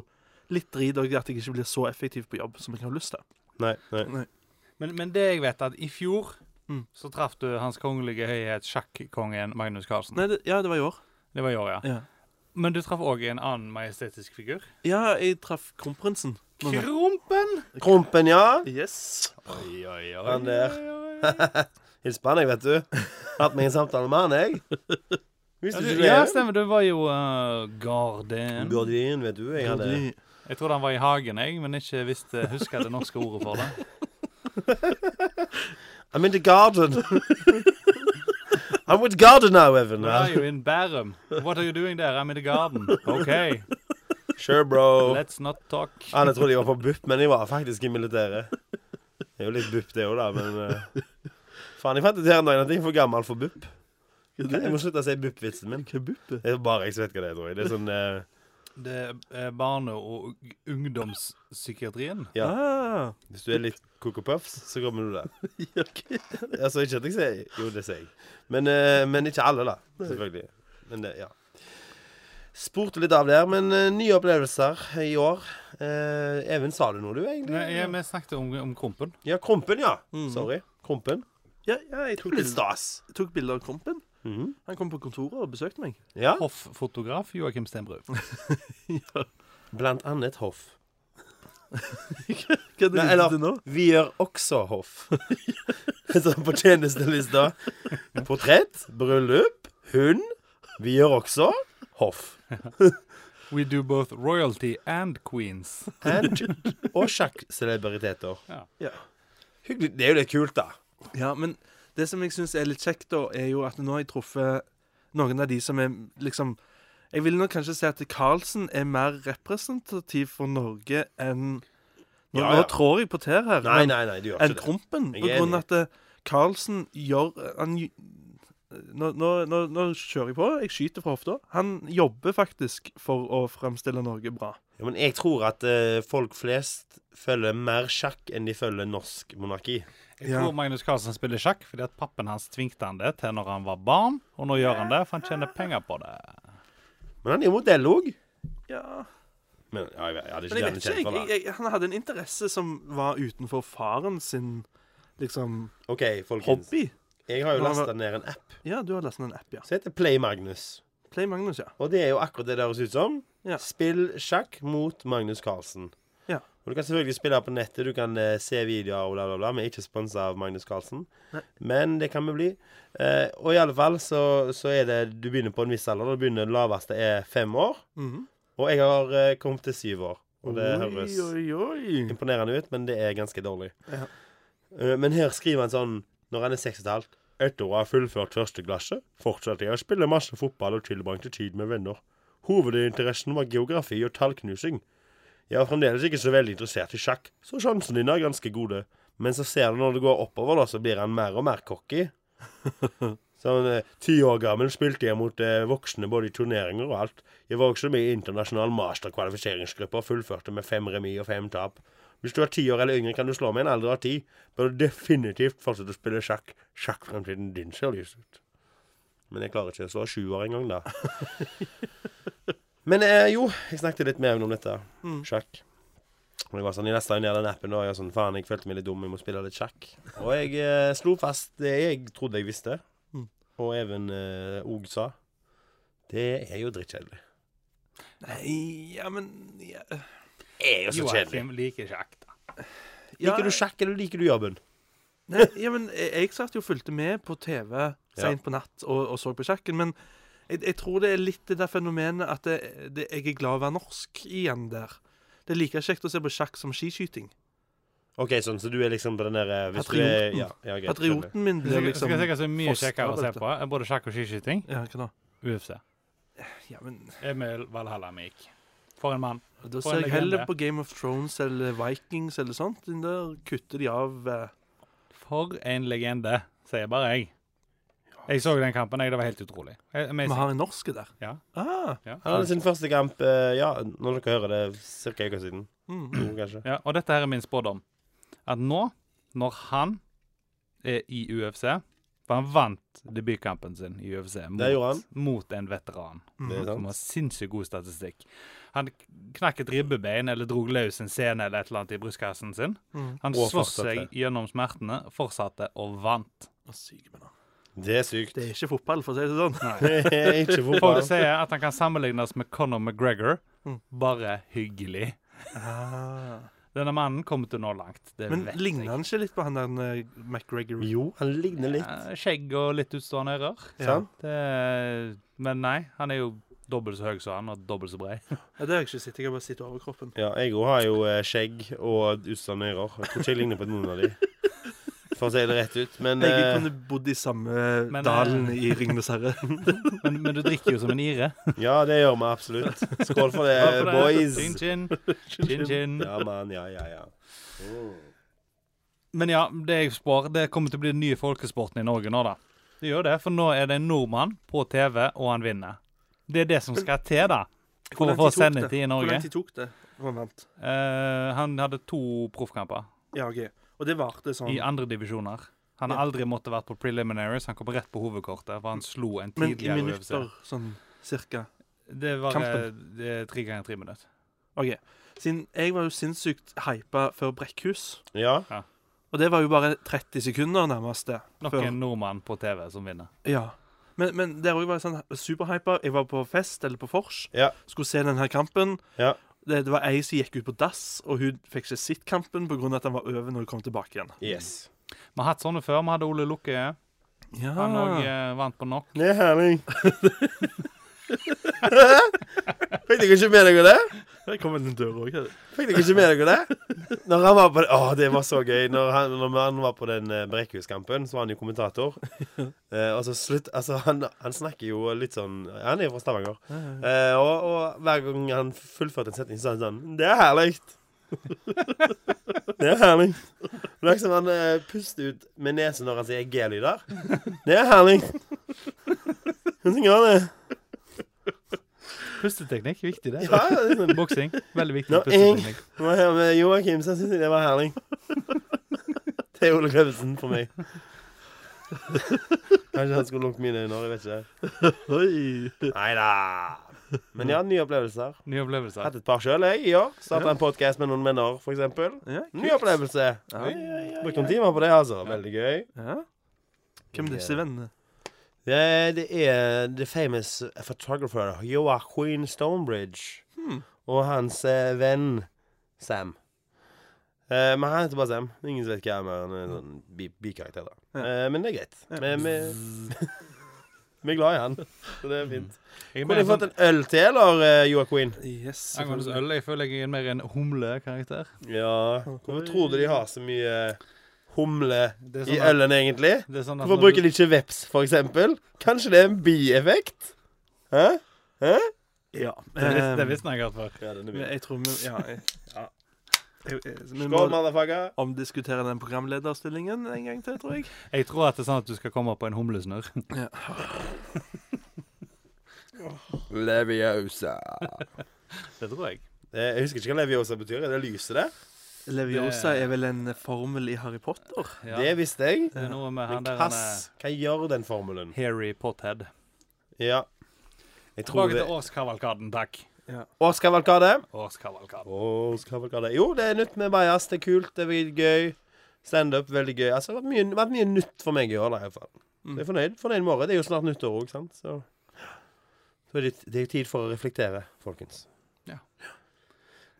litt drit og at jeg ikke blir så effektiv på jobb som jeg har lyst til. Nei, nei. Men, men det jeg vet, at i fjor Mm. så traff du Hans Kongelige Høyhet sjakkongen Magnus Carlsen. Nei, det, ja, det var i år. Det var i år, ja. Ja, Men du traff òg en annen majestetisk figur. ja jeg traff kronprinsen. Nå- Krompen! Krompen, ja. Yes. Oi, oi, oi. Han der. Hils på han, jeg, vet du. Hatt meg en samtale med han, jeg. Visste ikke du Ja, det? stemmer. Du var jo uh, garden. Gordin, vet du. Jeg hadde Fordi- Jeg trodde han var i hagen, jeg, men ikke visste, huska det norske ordet for det. I'm in the garden. I'm with garden now, Evan. Du er jo in Bærum. What are you doing there? I'm in the garden. OK, Sure, bro. let's not talk. Alle trodde jeg var på BUP, men jeg var faktisk i militæret. Det er jo litt BUP, det òg, da, men eh, Faen, jeg fant ut her en dag at jeg er for gammel for BUP. Jeg må slutte å si BUP-vitsen min. Kebuppe. Det er bare jeg som vet hva det er, tror jeg. Det er sånn eh, Det er barne- og ungdomspsykiatrien. Ja. Ah, Hvis du er litt Coco Puffs, så kommer du der. ja, ok. Altså, ikke at jeg sier Jo, det sier jeg. Men, eh, men ikke alle, da. Selvfølgelig. Men det, ja. Spurte litt av der, men eh, nye opplevelser i år. Eh, Even, sa du noe, du, egentlig? Nei, jeg- Mm. vi snakket om, om Krompen. Ja, Krompen, ja. Mhm. Sorry. Krompen. ja, ja jeg tok Litt bilder, stas. tok bilder av krompen. Mhm. Han kom på kontoret og besøkte meg. Ja. Hoff-fotograf Joakim Stenbrud. Blant annet hoff. Hva Nei, er det eller- du til nå? Vi gjør også hoff. Så på tjenestelista portrett, bryllup, hund. Vi gjør også hoff. We do both royalty and queens. And, og sjakkcelebriteter. Ja. Ja. Hyggelig. Det er jo litt kult, da. Ja, men det som jeg syns er litt kjekt, da, er jo at nå har jeg truffet noen av de som er liksom Jeg vil nok kanskje si at Karlsen er mer representativ for Norge enn Nå, Ja, nå ja. trår jeg på tær her. Nei, men- nei, nei, du gjør enn ikke det. Krompen. Jeg På er grunn enig. av at eh, Karlsen gjør han, gj- nå, nå, nå, nå kjører jeg på. Jeg skyter fra hofta. Han jobber faktisk for å fremstille Norge bra. Ja, men jeg tror at eh, folk flest følger mer sjakk enn de følger norsk monarki. Jeg Ja. tror Magnus Carlsen spiller sjakk fordi at pappen hans tvingte han det til når han var barn, og nå gjør han det, for han tjener penger på det. Men han er jo modell òg. Ja Men ja, jeg, vet- jeg hadde ikke Men jeg gjerne vet kjent ikke. for Jeg, det. jeg, jeg, han hadde en interesse som var utenfor faren sin liksom OK, folkens. hobby. Jeg har jo Nå har lasta ned en app Ja, du har lest en app, ja. som heter Play Magnus. Play Magnus, ja. Og det er jo akkurat det det høres ut som. Ja. Spill sjakk mot Magnus Carlsen. Ja. Og Du kan selvfølgelig spille på nettet, du kan eh, se videoer og bla, bla, bla. Vi er ikke sponsa av Magnus Carlsen, Nei. men det kan vi bli. Eh, og i alle fall så, så er det Du begynner på en viss alder. Da begynner det laveste er fem år. Mhm. Og jeg har eh, kommet til syv år. Og det oi, høres oi, oi. imponerende ut, men det er ganske dårlig. Mm. Ja. Eh, Men her skriver han sånn når han er seks og et halvt. Etter å ha fullført første klasse fortsatte jeg å spille masse fotball og tilbrakte tid med venner. Hovedinteressen var geografi og tallknusing. Jeg var fremdeles ikke så veldig interessert i sjakk, så sjansene dine er ganske gode. Men så ser du når det går oppover, da, så blir han mer og mer cocky. Sånn eh, ti år gammel spilte jeg mot eh, voksne både i turneringer og alt. Jeg var også med i internasjonal masterkvalifiseringsgruppe og fullførte med fem remis og fem tap. Hvis du er ti år eller yngre, kan du slå med en alder av ti. Bør du definitivt fortsette å spille sjakk. Sjakkfremtiden din ser lys ut. Men jeg klarer ikke å slå sju år engang, da. Men eh, jo, jeg snakket litt mer om dette. Mm. Sjakk. Og det var sånn, Jeg lasta ned den appen, og jeg var sånn Faen, jeg følte meg litt dum, jeg må spille litt sjakk. Og jeg eh, slo fast det jeg trodde jeg visste, Mm. og Even eh, òg sa. Det er jo drittkjedelig. Nei, ja, men ja. Det er jo så kjedelig. Joakim liker ikke ekte. Liker du sjakk, eller liker du jobben? Nei, ja, men jeg, jeg satt jo og fulgte med på TV seint på natt og, og så på sjakken. Men jeg, jeg tror det er litt det der fenomenet at det, det, jeg er glad i å være norsk igjen der. Det er like kjekt å se på sjakk som skiskyting. OK, sånn, så du er liksom på den der eh, hvis du Er, Patrioten. ja, ja, greit, skjønner. Patrioten min Det blir liksom skal sikkert så mye foster kjekkere å se dette. på. eh, Både sjakk og skiskyting. Ja, hva da? UFC. Ja, men Emil Valhalla Mik. For en mann. Da en ser jeg legende. heller på Game of Thrones eller Vikings eller sånt. Den der kutter de av eh, For en legende, sier bare jeg. Jeg så den kampen, jeg. Det var helt utrolig. Eh, Vi Amazing. har en norske der. Ja. Ah, Han hadde sin første kamp eh, ja, når dere hører det, ca. en uke siden. mm. To, kanskje. Ja, og dette her er min spådom. At nå, når han er i UFC For han vant debutkampen sin i UFC mot, gjorde han. mot en veteran Mm. Det er som sant. har sinnssykt god statistikk. Han k- knakk et ribbebein eller drog løs en sene eller et eller annet i brystkassen sin. Mm. Han Og sloss fortsatte. seg gjennom smertene, fortsatte og vant. Å, syke meg nå. Det er sykt. Det er ikke fotball, for å si det sånn. Det er ikke For fotball. det sier at han kan sammenlignes med Conor McGregor. Mm. Bare hyggelig. Ah. Denne mannen kommer til å nå langt. Det Men vet jeg. ligner han ikke litt på han der eh, McGregor? Jo, han ligner litt. Eh, Skjegg og litt utstående ører. Sant? Det, men nei, han er jo dobbelt så høy som han, og dobbelt så brei. Ja, det har jeg ikke sett. Jeg har bare sett overkroppen. Ja, jeg òg har jo eh, skjegg og utstående ører. Jeg tror ikke jeg ligner på noen av de. For å si det rett ut. Men Jeg eh, kunne bodd i samme Men, eh, dalen i Ringenes herre. Men, men du drikker jo som en ire. ja, det gjør vi absolutt. Skål for det, Bare for det. Eh, boys. Chin, chin. Chin, chin. Ja, mann. Ja, ja, ja. Men ja, det jeg spår, det kommer til å bli den nye folkesporten i Norge nå, da. Det gjør det, for nå er det en nordmann på TV, og han vinner. Det er det som skal til, da. Hvor For lang å få tid tok det? sendetid i Hvor Norge. lang tid tok det? Og han vant. Eh, han hadde to proffkamper Ja, ok. Og det varte sånn i andre divisjoner. Han har aldri måttet vært på preliminaries. Han kom rett på hovedkortet, for han slo en Men i tidligere minutter, sånn cirka. UFC. Det var eh, Kampen. det er tre ganger tre minutter. OK. Siden jeg var jo sinnssykt hypa før Brekkhus, Ja. og det var jo bare 30 sekunder nærmest det. Nok før- en nordmann på TV som vinner. Ja. Men, men der òg var jeg sånn superhypa. Jeg var på fest eller på vors, Ja. skulle se denne kampen. Ja. Det, det var ei som gikk ut på dass, og hun fikk ikke sett kampen pga. at den var over når hun kom tilbake igjen. Yes. Vi har hatt sånne før. Vi hadde Ole Lukke. Ja. Han òg eh, vant på nok. Det er herlig. Fikk dere ikke med dere det? Der kom en dør òg. Fikk dere ikke med dere det? Når han var på Å, det var så gøy. Når han, når han var på den eh, Brekkhus-kampen, så var han jo kommentator. Eh, og så slutt Altså, han, han snakker jo litt sånn Han er jo fra Stavanger. Eh, og, og hver gang han fullførte en setning, så sa han sånn Det er herlig. Det er herlig. Det er liksom han eh, puster ut med nesen når han sier G-lyder. Det er herlig. Hvordan gjør det? Pusteteknikk, viktig det. Ja, det er sånn. Boksing, veldig viktig. Nå, pusteteknikk. Jeg var her med Joakim, så jeg syntes det var herlig. Det er Ole Klevelsen for meg. Kanskje han skulle lukket mine øyne, jeg vet ikke. Oi. Nei da. Men ja, nye opplevelser. Nye opplevelser. Hatt et par sjøl, jeg, i år. Starta en podkast med noen venner, f.eks. Ja, Ny opplevelse. Ja, ja, Brukt noen timer på det, altså. Veldig gøy. ja. Hvem er disse vennene? Det, det er the famous photographer Joaquin Stonebridge Hmm. og hans eh, venn Sam. Eh, men han heter bare Sam. Ingen vet hva han er. Han er en sånn bi- bikarakter. da. Ja. Eh, men det er greit. Ja. Men, men, Vi er glad i han. Så det er fint. Hmm. Jeg er Kunne mer jeg fått sånn, en øl til, eller, eh, Joaquin? Yes. angående øl, jeg føler jeg er mer en humlekarakter. Ja Hvorfor tror du de har så mye humle Det er i sånn at- ølen, egentlig? det er sånn at Hvorfor når bruker du- de ikke veps, for eksempel? Kanskje det er en bieffekt? Hæ? Hæ? Ja. Det vis- Det eh, visste jeg godt for. Ja, den er men jeg tror vi Ja. Jeg, ja. Jeg, jeg, vi Skål, må motherfucker. omdiskutere den programlederstillingen en gang til, tror jeg. Jeg tror at det er sånn at du skal komme på en humlesnurr. Leviosa. Det tror jeg. Jeg husker ikke hva leviosa betyr. Er det lyset, det? Leviosa er vel en formel i Harry Potter? Ja. Det visste jeg. Det er noe med han Men der han er pass. Hva gjør den formelen? Harry Pothead. Ja. Jeg tror Tilbake det til årskavalkaden, takk. Årskavalkade. Årskavalkaden. Årskavalkade. Jo, det er nytt med bajas. Det er kult. Det er veldig gøy. Standup, veldig gøy. Altså, det har vært mye, vært mye nytt for meg i år, da, i hvert fall. Mm. Så jeg er fornøyd. Fornøyd med året. Det er jo snart nyttår òg, sant. Så, så er det, det er jo tid for å reflektere, folkens. Ja.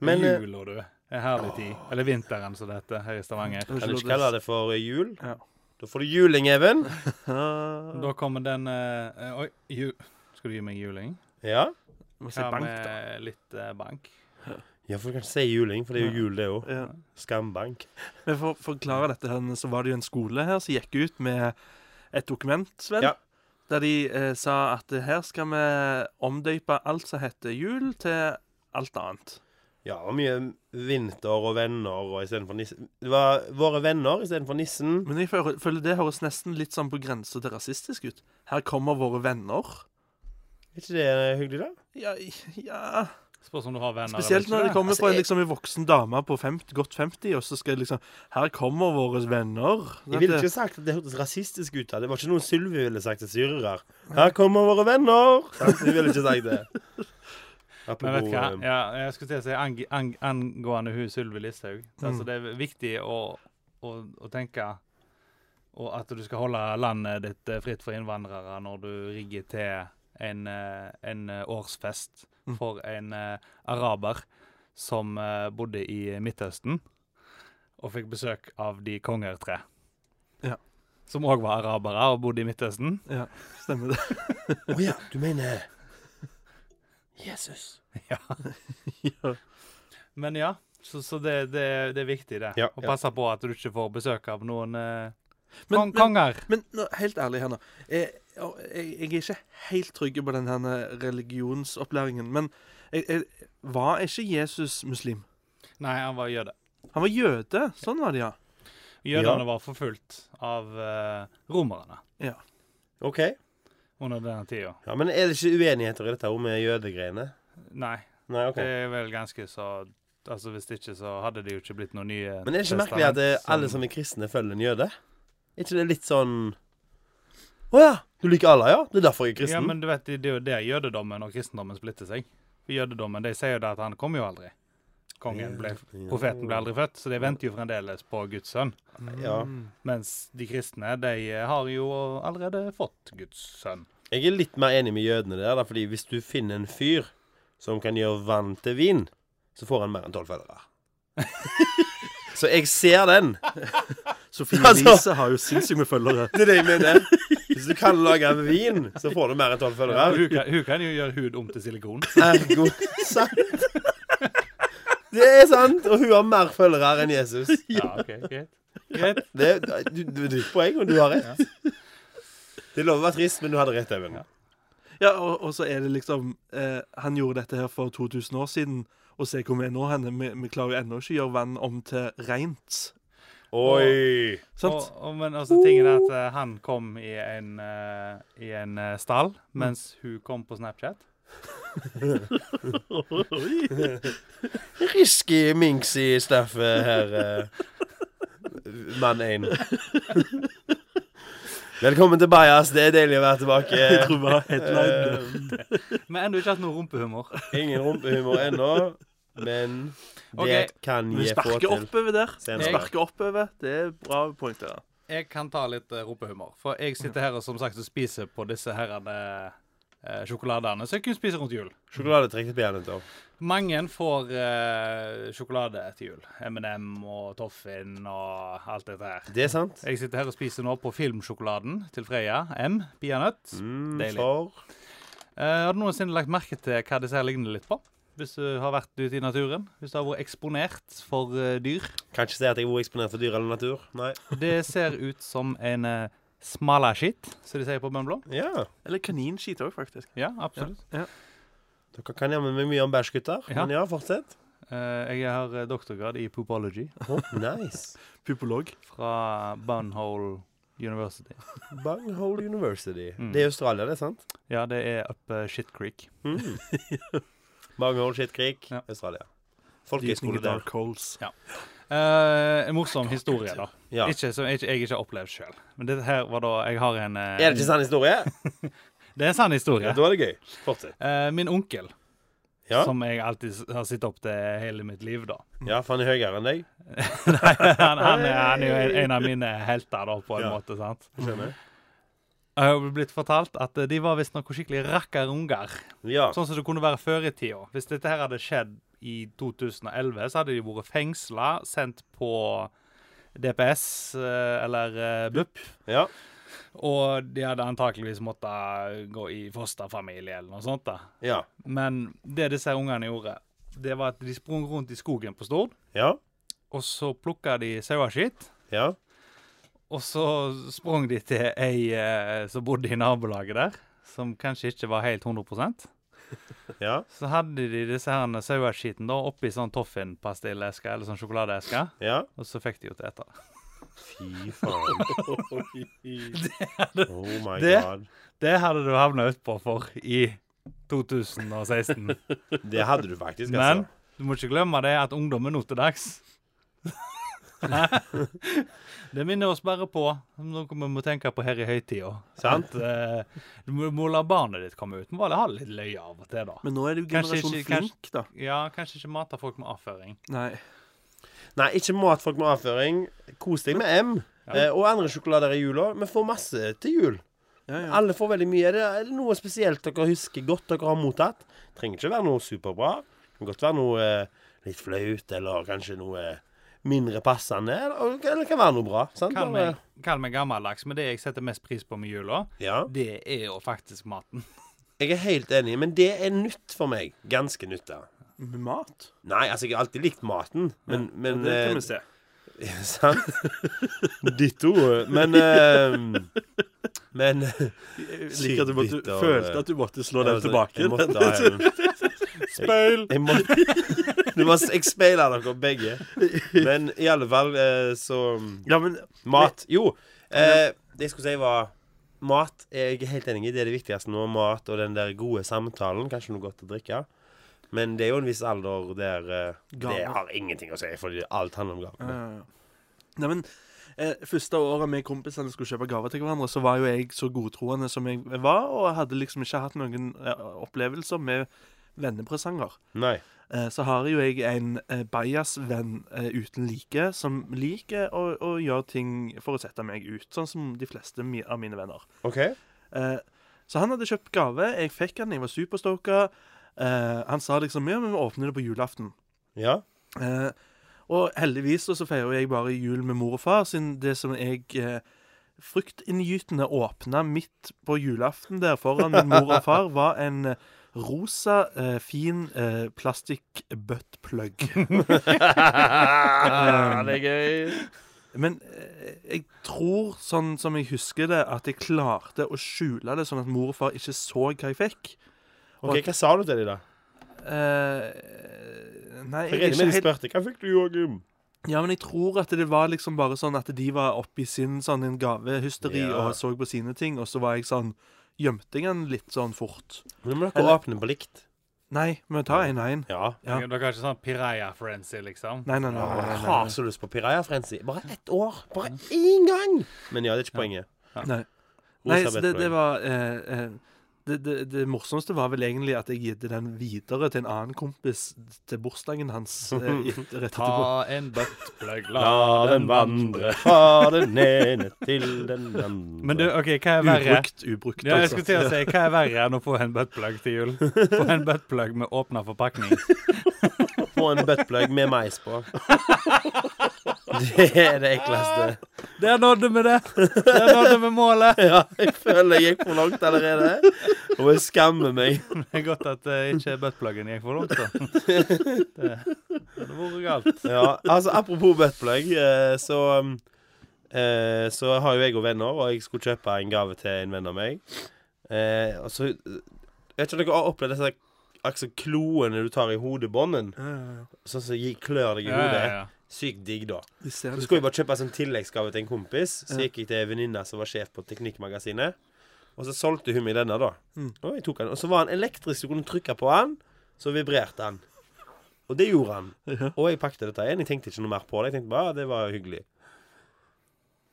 Men eh, Jula, du. En herlig tid. Eller vinteren, som det heter her i Stavanger. Kan kan du ikke kalle det for jul? Ja. Da får du juling, Even. Da kommer den eh, eh, Oi, ju, skal du gi meg juling? Ja. Må si Hva bank, da. med litt eh, bank? ja, for du kan ikke si juling, for det er jo jul, det òg. Ja. Skambank. Men for å forklare dette, her, så var det jo en skole her som gikk ut med et dokument, Sven. Ja. Der de eh, sa at her skal vi omdøpe alt som heter jul, til alt annet. Ja, det var mye vinter og venner og istedenfor nissen. Det var våre venner istedenfor nissen. Men jeg føler, føler det høres nesten litt sånn på grensa til rasistisk ut. Her kommer våre venner. Er ikke det eh, hyggelig, da? Ja, ja. Spørs om du har venner. eller Spesielt ikke når det kommer Altså, fra en, jeg- liksom, en voksen dame på 50, godt 50, og så skal det liksom Her kommer våre venner. Jeg ville ikke sagt at det hørtes rasistisk ut. da Det var ikke noe Sylvi ville sagt til syrere. Her kommer våre venner! Jeg ville ikke sagt det. Men vet du Apropos hva? eh, Ja, jeg skulle til å si ang ang angående hun Sylvi Listhaug. Altså, Mm. det er viktig å, å, å tenke og at du skal holde landet ditt eh, fritt for innvandrere når du rigger til en, eh, en eh, årsfest Mm. for en eh, araber som eh, bodde i Midtøsten og fikk besøk av de konger tre. Ja. Som òg var arabere og bodde i Midtøsten. Ja, stemmer det. Å ja, du mener Jesus. Ja. Men ja, så, så det, det, det er viktig, det. Ja, å ja. passe på at du ikke får besøk av noen eh, Men- kong men- konger. Men nå, helt ærlig her nå. Jeg, jeg, jeg er ikke helt trygg på den her religionsopplæringen. Men jeg, jeg, var ikke Jesus muslim? Nei, han var jøde. Han var jøde. Sånn var det, ja. Jødene Ja. var forfulgt av eh, romerne ja. eh, OK. under denne tida. Ja, Men er det ikke uenigheter i dette her med jødegreiene? Nei, Nei, OK. det er vel ganske så Altså Hvis ikke, så hadde det jo ikke blitt noen nye Men er det ikke merkelig at det, alle som er kristne, følger en jøde? Er ikke det litt sånn Å ja! Du liker Allah, ja? Det er derfor jeg er kristen? Ja, men du vet, det det er jo der jødedommen og kristendommen splitter seg. For Jødedommen de sier jo det at han kom jo aldri. Kongen ble, Profeten ble aldri født, så de venter jo fremdeles på Guds sønn. Ja. Mens de kristne, de eh, har jo allerede fått Guds sønn. Jeg er litt mer enig med jødene der, da, fordi hvis du finner en fyr som kan gjøre vann til vin, så får han mer enn tolv følgere. så jeg ser den. Sofie Altså- Elise har jo sinnssykt med følgere. Det er det jeg mener. Hvis du kan lage vin, så får du mer enn tolv følgere. Hun kan, hun kan jo gjøre hud om til silikon. Ergo sant. Det er sant, og hun har mer følgere enn Jesus. Ja, ok, greit. greit. Det er du- du- du er ditt poeng, og du har rett. Det er lov å være trist, men du hadde rett, Even. Ja, og, og så er det liksom eh, Han gjorde dette her for 2000 år siden, og se hvor vi er nå henne. Vi, vi klarer jo ennå ikke å gjøre vann om til reint. Oi. Sant? Og, og, men altså, tingen er at eh, han kom i en, eh, i en eh, stall, mens hun kom på Snapchat. Risky minks i staffet her, eh, mann 1. Velkommen til Bajas. Det er deilig å være Jeg tilbake. tror vi har headline. Men ennå ikke hatt noe rumpehumor. Eh, ingen rumpehumor ennå, men det Ok, kan Vi jeg få sparker til. oppover der. senere. Vi sparker oppover. Det er bra poeng der. Jeg kan ta litt eh, rumpehumor, for jeg sitter her og som sagt og spiser på disse herrene eh, sjokoladene som jeg kunne spise rundt jul. Sjokoladetrekk til peanøtter. Mange får eh, sjokolade til jul. M&M og Toffin og alt dette her. Det er sant. Jeg sitter her og spiser nå på filmsjokoladen til Freya M. Peanøtt. Mm, Deilig. for Eh, har du noensinne lagt merke til hva disse her ligner litt på? Hvis du har vært ute i naturen? Hvis du har vært eksponert for eh, dyr? Kan ikke si at jeg er eksponert for dyr eller natur. Nei. Det ser ut som en uh, smalaskitt, som de sier på Bømblå. Ja. Eller kaninskit òg, faktisk. Ja, absolutt. Ja. Dere kan jammen meg mye om bæsj, gutter. Ja. Men ja, fortsett. Eh, jeg har eh, doktorgrad i poopology Oh, nice. Pupolog. fra Bunhole University. Bunghole University. Mm. Det er Australia, det, sant? Ja, det er oppe Shit Creek. Mm. Bunghole Shit Creek, Ja. Australia. Dypning Folkehøyskole i der. dark holes. Eh, en morsom historie, da. Ja. Ikke Som jeg, ikke- jeg ikke har opplevd sjøl. Men dette her var da jeg har en eh, Er det ikke sann historie? Det er en sann historie. Ja. Da er det gøy. Fortsett. Eh, min onkel, Ja, som jeg alltid s- har sett opp til hele mitt liv, da. ja for han er høyere enn deg. Nei, han, han, er, han er jo en, en av mine helter, da, på en Ja. måte. sant? Skjønner. Jeg har blitt fortalt at eh, de var visstnok skikkelig rakkarunger. Ja. Sånn som det kunne være før i tida. Hvis dette her hadde skjedd i 2011, så hadde de vært fengsla, sendt på DPS eh, eller eh, BUP, ja. og de hadde antakeligvis måttet eh, gå i fosterfamilie eller noe sånt. da. Ja. Men det disse her ungene gjorde, det var at de sprang rundt i skogen på Stord, Ja. og så plukka de saueskitt. Ja. Og så sprang de til ei eh, som bodde i nabolaget der, som kanskje ikke var helt 100 ja. Så hadde de disse her saueskiten da oppi sånn toffinpastilleske eller sånn sjokoladeeske, ja. og så fikk de jo til å ete. det. Fy faen. Oh my Det- god. Det hadde du havna utpå for i 2016. Det hadde du faktisk, Men altså. du må ikke glemme det at ungdommen nå til dags Det minner oss bare på noe vi må tenke på her i høytida. Sant? At, eh, du må, må la barnet ditt komme ut. Du må bare ha litt løye av og til, da. Men nå er det jo Kanskje generasjon ikke- flink, da. Ja, kanskje ikke mate folk med avføring. Nei. Nei, ikke mat folk med avføring. Kos deg med M. Ja. Eh, og andre sjokolader i jula. Vi får masse til jul. Ja, ja. Alle får veldig mye. Er det er det noe spesielt dere husker godt dere har mottatt? Trenger ikke være noe superbra. Det kan godt være noe eh, litt flaut, eller kanskje noe eh, mindre passende. Eller, eller det kan være noe bra. Sant? Kall Bare- meg, kall meg gammeldags, men det jeg setter mest pris på med jula, Ja. det er jo faktisk maten. Jeg er helt enig, men det er nytt for meg. Ganske nytt. da. Med mat? Nei, altså, jeg har alltid likt maten, men, Ja, men det eh, kan vi se. Sant? Ditto. Men eh, Men Jeg liker at du måtte, Sykt bitter, følte at du måtte slå den Altså, tilbake. Jeg måtte ha en Speil! jeg må, Du må jeg speile dere begge. Men i alle fall eh, så Ja, men Mat. Jo, eh, det jeg skulle si var Mat er jeg helt enig i. Det er det viktigste nå. Mat og den der gode samtalen. Kanskje noe godt å drikke. Men det er jo en viss alder der eh, det Gaver. har ingenting å si, fordi alt handler om Ja, gaver. ja, ja. Nei, men eh, Første året vi kompisene skulle kjøpe gaver til hverandre, så var jo jeg så godtroende som jeg var, og hadde liksom ikke hatt noen eh, opplevelser med vennepresanger. Nei. Eh, så har jo jeg en eh, bajasvenn eh, uten like, som liker å, å gjøre ting for å sette meg ut, sånn som de fleste mi av mine venner. OK? Eh, så han hadde kjøpt gave. Jeg fikk den, jeg var superstoka. Eh, han sa liksom ja, men vi åpner det på julaften. Ja. Eh, og heldigvis så, så feirer jeg bare jul med mor og far, siden det som jeg eh, fruktinngytende åpna midt på julaften der foran min mor og far, var en eh, rosa, eh, fin eh, plastikk-buttplug. Ah, det er gøy. Men eh, jeg tror, sånn som jeg husker det, at jeg klarte å skjule det, sånn at mor og far ikke så hva jeg fikk. OK, hva sa du til dem, da? Eh, nei, Jeg regner jeg er med ikke de helt spurte hva fikk du, Joakim? Ja, men jeg tror at det var liksom bare sånn at de var oppi sin sånn en gavehysteri Ja. og så på sine ting, og så var jeg sånn Gjemte jeg den litt sånn fort? Nå må dere Eller- åpne på likt. Nei, vi tar én og én. Ja. Ja. Dere har ikke sånn Piraya-frenzy, liksom? Nei, nei, nei. nei, Jeg nei, har så lyst på Piraya Frenzy. Bare ett år. Bare én gang! Men ja, det er ikke poenget. nei. nei. Rosa nei så det, Betboy. det var eh, eh, det, det, det morsomste var vel egentlig at jeg gitte den videre til en annen kompis til bursdagen hans. eh, i- rett etterpå. Ta en buttplug, La den vandre fra den ene til den andre. Men du, OK, hva er verre? Ubrukt, ubrukt. altså. Ja, jeg skulle til å si, Hva er verre enn å få en buttplug til jul? Få en buttplug med åpna forpakning. På en buttplug med mais på. Det er det ekleste. Der nådde vi det! Der nådde vi målet! Ja, jeg føler jeg gikk for langt allerede. Og jeg skammer meg. Det er godt at eh, ikke buttpluggen gikk for langt, da. Det det hadde vært galt. Ja, altså Apropos buttplug, eh, så um, eh, Så har jo jeg og venner, og jeg skulle kjøpe en gave til en venn av meg. Eh, og så eh, Jeg vet ikke om dere har opplevd disse altså, kloene du tar i hodebånden? Ja, ja, ja. Sånn som gi- klør deg i Ja, ja, hodet. ja. Sykt digg, da. De ser Så litt- skulle jeg bare kjøpe en sånn tilleggsgave til en kompis. Så Ja. gikk jeg til en venninne som var sjef på Teknikkmagasinet. Og så solgte hun meg denne, da. Mm. Og jeg tok den. Og så var han elektrisk, du kunne trykke på han, så vibrerte han. Og det gjorde han. Ja. Og jeg pakket dette igjen. Jeg tenkte ikke noe mer på det. Jeg tenkte bare, ja, det var jo hyggelig.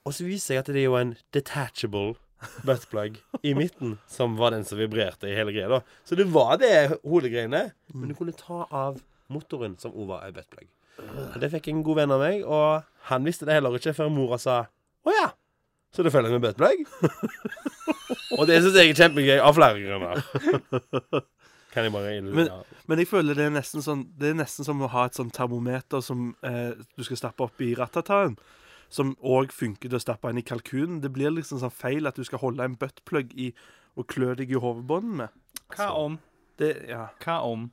Og så viser jeg at det er jo en detachable buttplug i midten, som var den som vibrerte i hele greia, da. Så det var det hodegreiene. Men du kunne ta av motoren, som òg var en buttplug. Og Det fikk en god venn av meg, og han visste det heller ikke før mora sa Å ja, så det følger med buttplug? og det syns jeg er kjempegøy av flere grunner. Kan jeg bare Men- ja. Men jeg føler det er nesten sånn Det er nesten som å ha et sånn termometer som eh, du skal stappe opp i ratataen. Som òg funker til å stappe inn i kalkunen. Det blir liksom sånn feil at du skal holde en buttplug i og klø deg i hovedbånden med. Hva om Det, ja. Hva om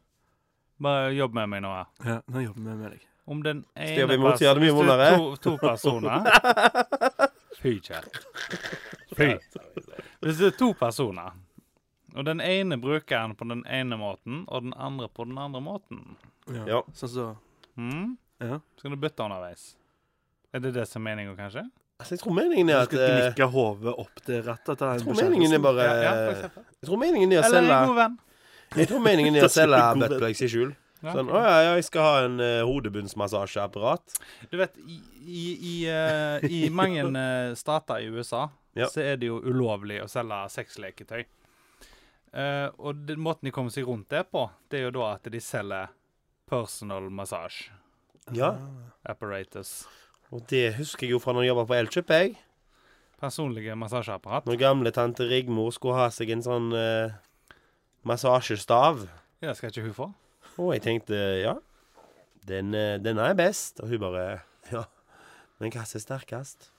Bare jobb med meg nå. her. ja. Nå jobber vi med deg. Om den Styr vi ene mot, gjør det mye hvis du er vondere. to, to personer Fy, kjære. Fy. Hvis det er to personer, og den ene bruker den på den ene måten, og den andre på den andre måten Ja. Ja. Sånn så mm? Ja. Skal du bytte underveis? Er det det som er meninga, kanskje? Altså, jeg tror meningen Du er at skal eh, gnikke hodet opp til ratataen. sånn. Jeg tror meningen er bare Ja, ja, for eksempel. Jeg tror meningen er å Eller en selge god venn. Jeg tror meningen er å Det er selge en god venn. buttplugs i skjul. Ja. Sånn, å ja, ja, jeg skal ha en eh, hodebunnsmassasjeapparat. Du vet, i, i, i, eh, i mange eh, stater i USA Ja. så er det jo ulovlig å selge sexleketøy. Eh, og den måten de kommer seg rundt det på, det er jo da at de selger personal massage Ja. apparatus. Og det husker jeg jo fra når jeg jobba på Elkjøp, jeg. Personlige massasjeapparat. Når gamle tante Rigmor skulle ha seg en sånn eh, massasjestav. Det skal ikke hun få. Og jeg tenkte ja, den, eh, denne er best. Og hun bare ja, men hva som er sterkest?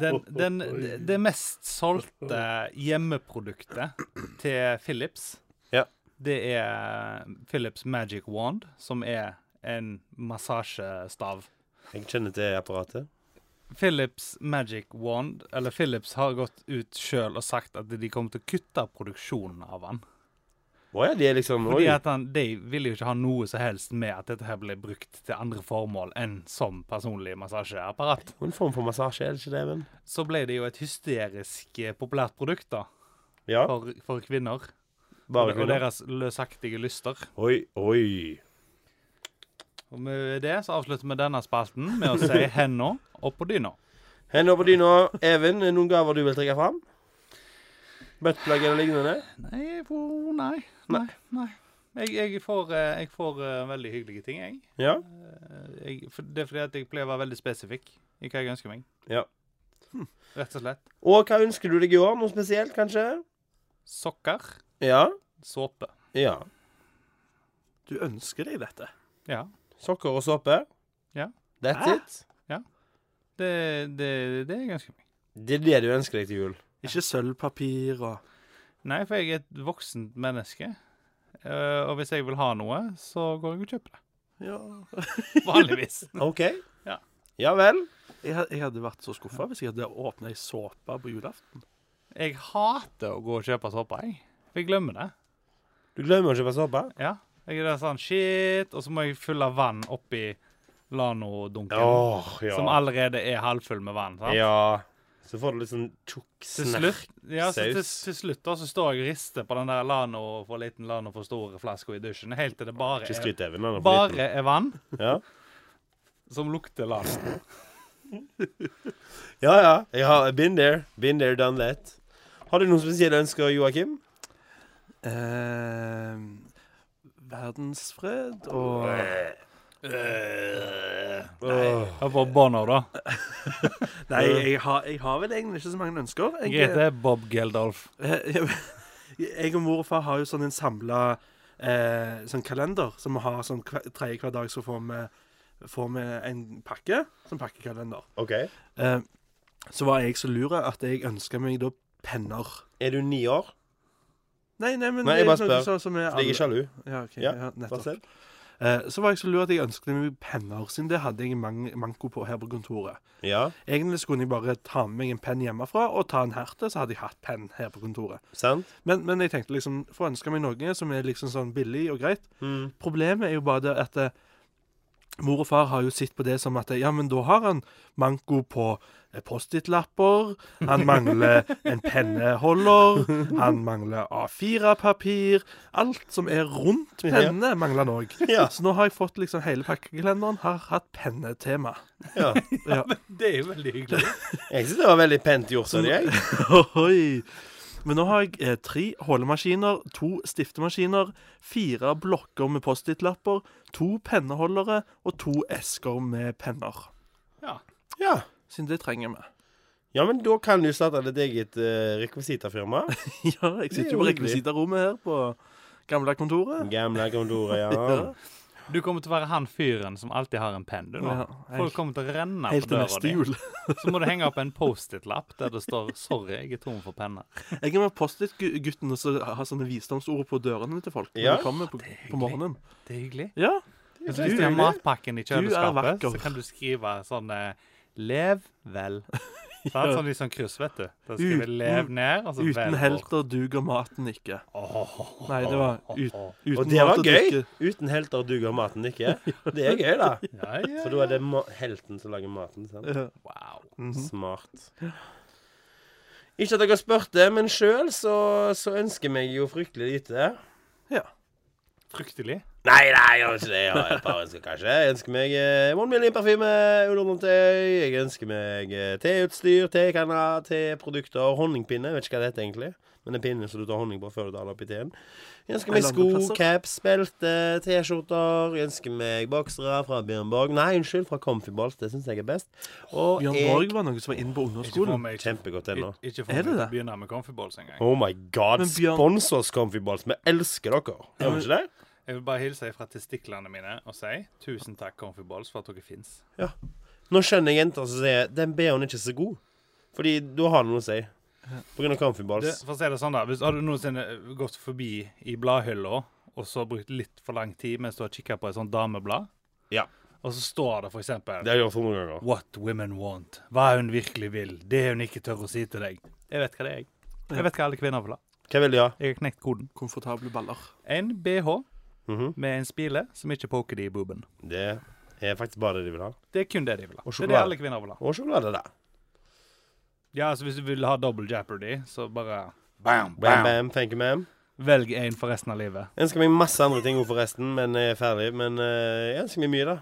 Den, den, det mest solgte hjemmeproduktet til Philips, Ja. det er Philips Magic Wand, som er en massasjestav. Jeg kjenner til apparatet. Philips Magic Wand, eller Philips har gått ut sjøl og sagt at de kommer til å kutte produksjonen av han. Å ja, de er liksom Oi. Fordi at han, De vil jo ikke ha noe som helst med at dette her blir brukt til andre formål enn som personlig massasjeapparat. En form for massasje, er det ikke det, men? Så ble det jo et hysterisk eh, populært produkt da, Ja. for, for kvinner. Bare Og kvinner. deres løsaktige lyster. Oi, oi. Og med det så avslutter vi denne spalten med å si henda opp på dyna. Hender på dyna. Even, er det noen gaver du vil trekke fram? Buttplug eller lignende? Nei, for, nei. Nei. nei. Jeg, jeg får, eh, jeg får eh, veldig hyggelige ting, jeg. Ja. Eh, jeg, for det er fordi at jeg pleier å være veldig spesifikk i hva jeg ønsker meg. Ja. Rett og slett. Og hva ønsker du deg i år? Noe spesielt, kanskje? Sokker, Ja. såpe. Ja. Du ønsker deg dette. Ja. Sokker og såpe. Ja. That's Hæ? it. Det, det, det jeg ønsker meg. Det er det du ønsker deg til jul. Ikke sølvpapir og Nei, for jeg er et voksent menneske. Eh, og hvis jeg vil ha noe, så går jeg og kjøper det. ja. Vanligvis. OK? Ja. Ja vel. jeg, had- jeg hadde vært så skuffa hvis jeg hadde åpna ei såpe på julaften. Jeg hater å gå og kjøpe såpe, jeg. For jeg glemmer det. Du glemmer å kjøpe såpe? Ja. Jeg er der sånn shit, og så må jeg fylle vann oppi Lano-dunken. Åh, ja. Som allerede er halvfull med vann. sant? Ja. Så får du litt sånn tjukk Til snert. slutt, ja, så til, saus. til slutt da, så står jeg og rister på den der Lano for liten, Lano for store flaska i dusjen, helt til det bare Ikke er, skryt, Even. Han er for liten. bare er vann Ja. som lukter Lano. ja, ja. Jeg har been there. Been there, done that. Har du noen spesielle ønsker, Joakim? eh, verdensfred og Eh. Åh. Ja, Bob Bonner, da. Nei, jeg har, jeg har vel egentlig ikke så mange ønsker. Jeg Jeg, heter Bob Geldolf. jeg, jeg og mor og far har jo sånn en samla eh, sånn kalender som vi har sånn hver- tredje hver dag, så får vi, får vi en pakke. Sånn pakkekalender. OK. Eh, så var jeg så lur at jeg ønska meg da penner. Er du ni år? Nei, nei, men Nei, jeg det er bare sånn- spør, sånn som er Så jeg er alle- sjalu. Ja, ok, Ja, ja, Bare nettopp. se. Eh, så var jeg så lur at jeg ønsket meg penner, siden det hadde jeg man manko på her på kontoret. Ja, Egentlig så kunne jeg bare ta med meg en penn hjemmefra og ta en herte, så hadde jeg hatt penn her på kontoret. sant? Men, men jeg tenkte liksom, få ønske meg noe som er liksom sånn billig og greit. Mm. Problemet er jo bare det at eh, mor og far har jo sett på det som at eh, ja, men da har han manko på eh, Post-It-lapper, han mangler en penneholder, han mangler A4-papir Alt som er rundt penne, mangler han òg. Ja. Så nå har jeg fått liksom hele pakkekalenderen, har hatt pennetema. ja. Ja. Det er jo veldig hyggelig. Jeg syns det var veldig pent gjort av deg. Ohoi. Men nå har jeg eh, tre hålemaskiner, to stiftemaskiner, fire blokker med Post-It-lapper, to penneholdere og to esker med penner. Ja. Siden det trenger vi. ja, men da kan du starte ditt eget uh, rekvisitafirma. Ja, Det jeg er jo sitter jo på hyggelig. rekvisiterommet her på gamle kontoret. Gamle kontoret, ja. Ja. Du kommer til å være han fyren som alltid har en penn. du, nå. Ja, Folk helt, kommer til å renne på helt til døra neste di. jul. Så må du henge opp en Post-It-lapp der det står 'Sorry, jeg er tom for penner'. Jeg kan være Post-It-gutten og så ha sånne visdomsord på dørene til folk når Ja. de kommer på, på morgenen. Det er hyggelig. Ja, Hvis det er du har hyggelig. matpakken i er kjøleskapet, vakker. så kan du skrive sånn eh, 'Lev vel'. Sant? Sånn litt sånn kryss, vet du. Da skriver Uten- 'lev' ned, og så vel Uten bort. helter duger maten ikke. Åh. Nei, det var ut, uten Og det var mat og gøy. drikke. Uten helter duger maten ikke. Det er gøy, da. Ja, ja. For da er det ma- helten som lager maten. sant? Ja. Wow. Mhm. Smart. Ikke at dere spurte, men sjøl så, så ønsker meg jo fryktelig lite. Ja. Fryktelig. Nei, nei, jeg gjør ikke det. Jeg har et par ønsker, kanskje. Jeg ønsker meg eh, One Million-parfyme, ullundertøy. Jeg ønsker meg eh, teutstyr, tekanner, teprodukter, honningpinne. Jeg vet ikke hva det heter egentlig, men den pinnen som du tar honning på før du tar den oppi teen. Jeg ønsker meg Eller sko, andre plasser. caps, belte, T-skjorter. Jeg ønsker meg boksere fra Bjørn Borg. Nei, unnskyld, fra Comfyballs. Det syns jeg er best. Og Bjørn jeg Borg var noe som var inne på Ikke få ungdomsskolen. meg til Kjempegodt ennå. å Er det det? begynne med comfyballs engang. Oh my god, Men Bjørn- spons oss, Comfyballs. Vi elsker dere. Gjør vi ikke det? Jeg vil bare hilse fra testiklene mine og si tusen takk, Comfyballs, for at dere fins. Nå skjønner jeg jenter som sier den BH-en er ikke så god. Fordi da har det noe å si. På grunn av Du, Comfyballs. For å si det sånn da, Hvis har du noensinne gått forbi i bladhylla og så brukt litt for lang tid mens du har kikket på et sånt dameblad, Ja. og så står det for eksempel Det har jeg gjort hundre ganger. What women want. Hva hun virkelig vil. Det hun ikke tør å si til deg. Jeg vet hva det er. jeg. Jeg vet hva alle kvinner vil ha. Hva vil de ha? Jeg har knekt koden. Komfortable baller. En BH Mhm. med en spile som ikke poker de i booben. Det er faktisk bare det de vil ha. Det er kun det de vil ha. Og Det er det sjokolade. alle kvinner vil ha. Og sjokolade, da. Ja, altså Hvis du vil ha double jeopardy, så bare bam, Bam, bam, thank you, ma'am. Velg en for resten av livet. Jeg ønsker meg masse andre ting også forresten, men jeg er ferdig. Men eh, jeg ønsker meg mye, da.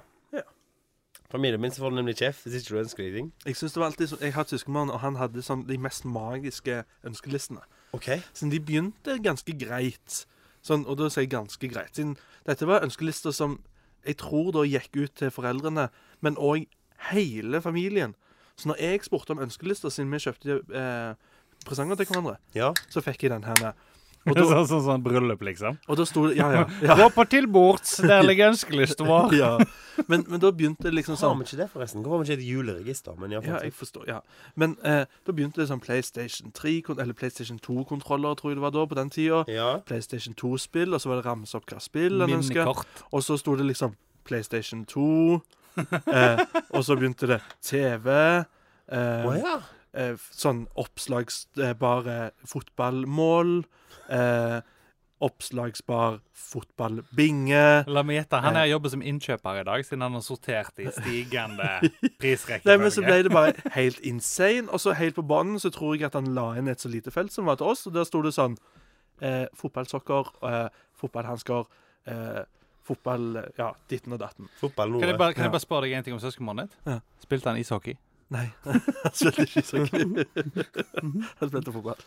Familien min så får du nemlig kjeft hvis ikke du ønsker deg ting. Jeg synes det var alltid så, jeg har søskenbarn, og han hadde sånn, de mest magiske ønskelistene. OK. Så de begynte ganske greit. Sånn, og da sier jeg ganske greit. Siden dette var ønskelister som jeg tror da gikk ut til foreldrene, men òg hele familien. Så når jeg spurte om ønskelister, siden vi kjøpte eh, presanger til hverandre, Ja. så fikk jeg den her. Og da, sånn, sånn, sånn bryllup, liksom. Og da sto det Ja, ja. ja, Gå på tilbords, der ligger ønskelista vår. ja. Men, men da begynte det liksom Har sånn vi ikke det, forresten? Hvorfor har vi ikke et juleregister? Men ja, Ja, jeg forstår, ja. Men eh, da begynte det sånn PlayStation 3, kon- eller PlayStation 2-kontroller, tror jeg det var da, på den tida. ja. PlayStation 2-spill, og så var det ramse opp hva spill en ønsker. Minnekort. Og så sto det liksom PlayStation 2, eh, og så begynte det TV. Eh, Å ja. eh, f- sånn oppslagsbare fotballmål. Eh, oppslagsbar fotballbinge. La meg gjette. Han her jobber som innkjøper i dag, siden han har sortert i stigende Nei, men så ble prisrekkefølge. det bare helt insane. Og så helt på banen så tror jeg at han la inn et så lite felt som var til oss, og der sto det sånn eh, Fotballsokker, eh, fotballhansker, eh, fotball Ja, ditten og datten. Fotball Kan jeg Nore. bare, kan jeg bare spørre deg en ting om søskenbarnet ditt? Ja. Spilte han ishockey? Nei, han spilte ikke ishockey. Han spilte fotball.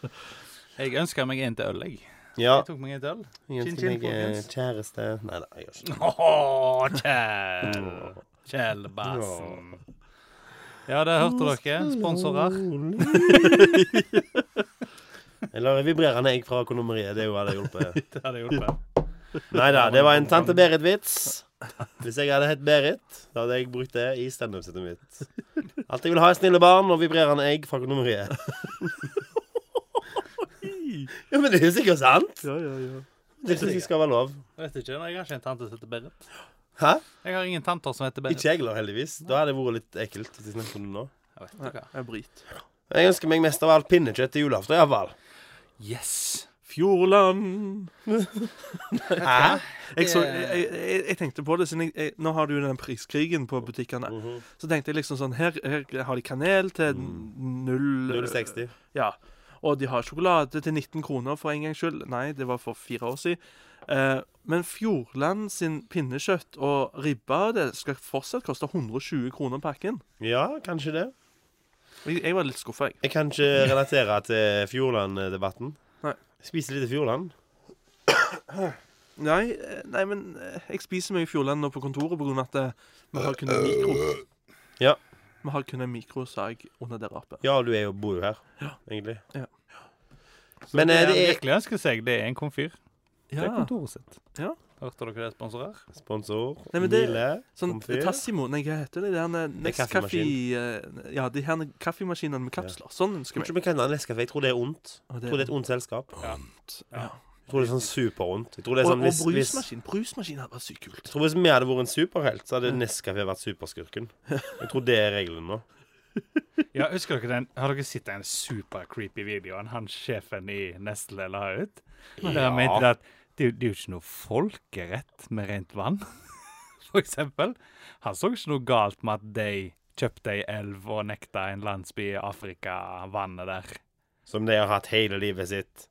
Jeg ønsker meg en til øl, jeg. Ja. Jeg tok meg et øl. Ingen Chin, skal chin, legge folkens. kjæreste Nei da, jeg gjør ikke det. Åh, Kjell. Kjell Bassen. Ja, det hørte dere. Sponsorer. Eller vibrerende egg fra kondomeriet. Det er jo hva det hjulpet. Det hadde hjulpet. Nei da, det var en tante Berit-vits. Hvis jeg hadde hett Berit, da hadde jeg brukt det i standup-settet mitt. Alt jeg vil ha, er snille barn og vibrerende egg fra kondomeriet. Ja, men det er jo sikkert sant. Ja, ja, ja. Det syns jeg skal være lov. Vet ikke, jeg har ikke en tante som heter Berit. Hæ? Jeg har ingen tanter som heter Berit. Ikke jeg heller, heldigvis. Da hadde det vært litt ekkelt. hvis jeg snakket om det nå. Jeg vet Nei, ikke. jeg er brit. Jeg ønsker meg mest av alt pinnekjøtt til julaften, iallfall. Yes. Fjordland. Hæ? Jeg, så, jeg, jeg, jeg tenkte på det, siden jeg, jeg, nå har du jo den priskrigen på butikkene. Så tenkte jeg liksom sånn Her, her har de kanel til null 060. Ja. Og de har sjokolade til 19 kroner for en gangs skyld. Nei, det var for fire år siden. Eh, men Fjordland sin pinnekjøtt og ribba det skal fortsatt koste 120 kroner pakken. Ja, kanskje det. Jeg, jeg var litt skuffa, jeg. Jeg kan ikke relatere til Fjordland-debatten. Nei. Spise litt i Fjordland. Nei, eh, nei, men eh, jeg spiser mye Fjordland nå på kontoret pga. at eh, vi har kun en mikro. Ja. Vi har kun en mikrosag under det rapet. Ja, du er jo, bor jo her, egentlig. Ja. Men det eh, han det er virkelig ønsker seg, det er en komfyr. Det er Ja. kontoret sitt. Ja. Hørte dere det, sponsorer? sponsor. Nei, men det- Mile. Sånn Komfyr. Tassimo Nei, hva heter det? Det er Nescafé eh, Ja, de her kaffemaskinene med kapsler. Sånn Jeg skal tror ikke vi. vi kan ha Nescafé. Jeg tror det er ondt. Og Jeg tror det er et ondt selskap. ja. Jeg tror det er sånn superondt. Jeg tror det er Og, sånn og hvis, hvis brusmaskin. Brusmaskin hadde vært sykt kult. jeg tror hvis vi hadde vært en superhelt, så hadde Nescafé vært superskurken. Jeg tror det er regelen nå. Ja, husker dere den? Har dere sett den super creepy videoen han sjefen i Nestle la ut? Der han mente det at det, er jo- det er jo ikke noe folkerett med rent vann, for eksempel. Han så ikke noe galt med at de kjøpte ei elv og nekta en landsby i Afrika vannet der. Som de har hatt hele livet sitt.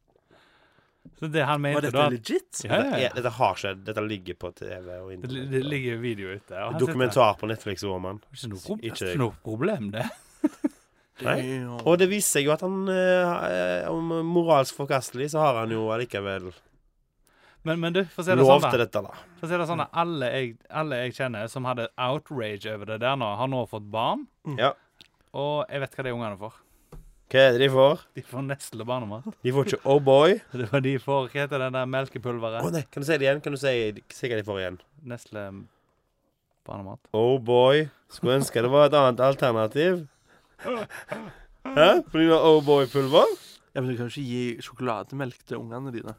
Så det han Var mente da dette at- legit? ja, ja, ja. Er- Dette har skjedd. Dette ligger på TV og Det, det internett. ligger jo video ute. Og han sitter der. Dokumentar på Netflix om han. Det er Ikke noe Ikke problem, det er jeg. ikke noe problem det. Nei. Damn. Og det viser seg jo at han eh, om moralsk forkastelig, så har han jo allikevel Men, men du, for å si det lov sånn, da. til dette, da. For å si det sånn, da, alle jeg, alle jeg kjenner som hadde outrage over det der nå, har nå fått barn. Ja. Og jeg vet hva de ungene får. Hva er det de får? De får Nestle barnemat. De får ikke Oh Boy. Det var de får Hva heter den der Å melkepulveret? nei, kan du si det igjen? Kan du si, si hva de får igjen? Nestle barnemat. Oh Boy. Skulle ønske det var et annet alternativ. Hæ? Fordi du har Oh Boy-pulver? Ja, men du kan jo ikke gi sjokolademelk til ungene dine.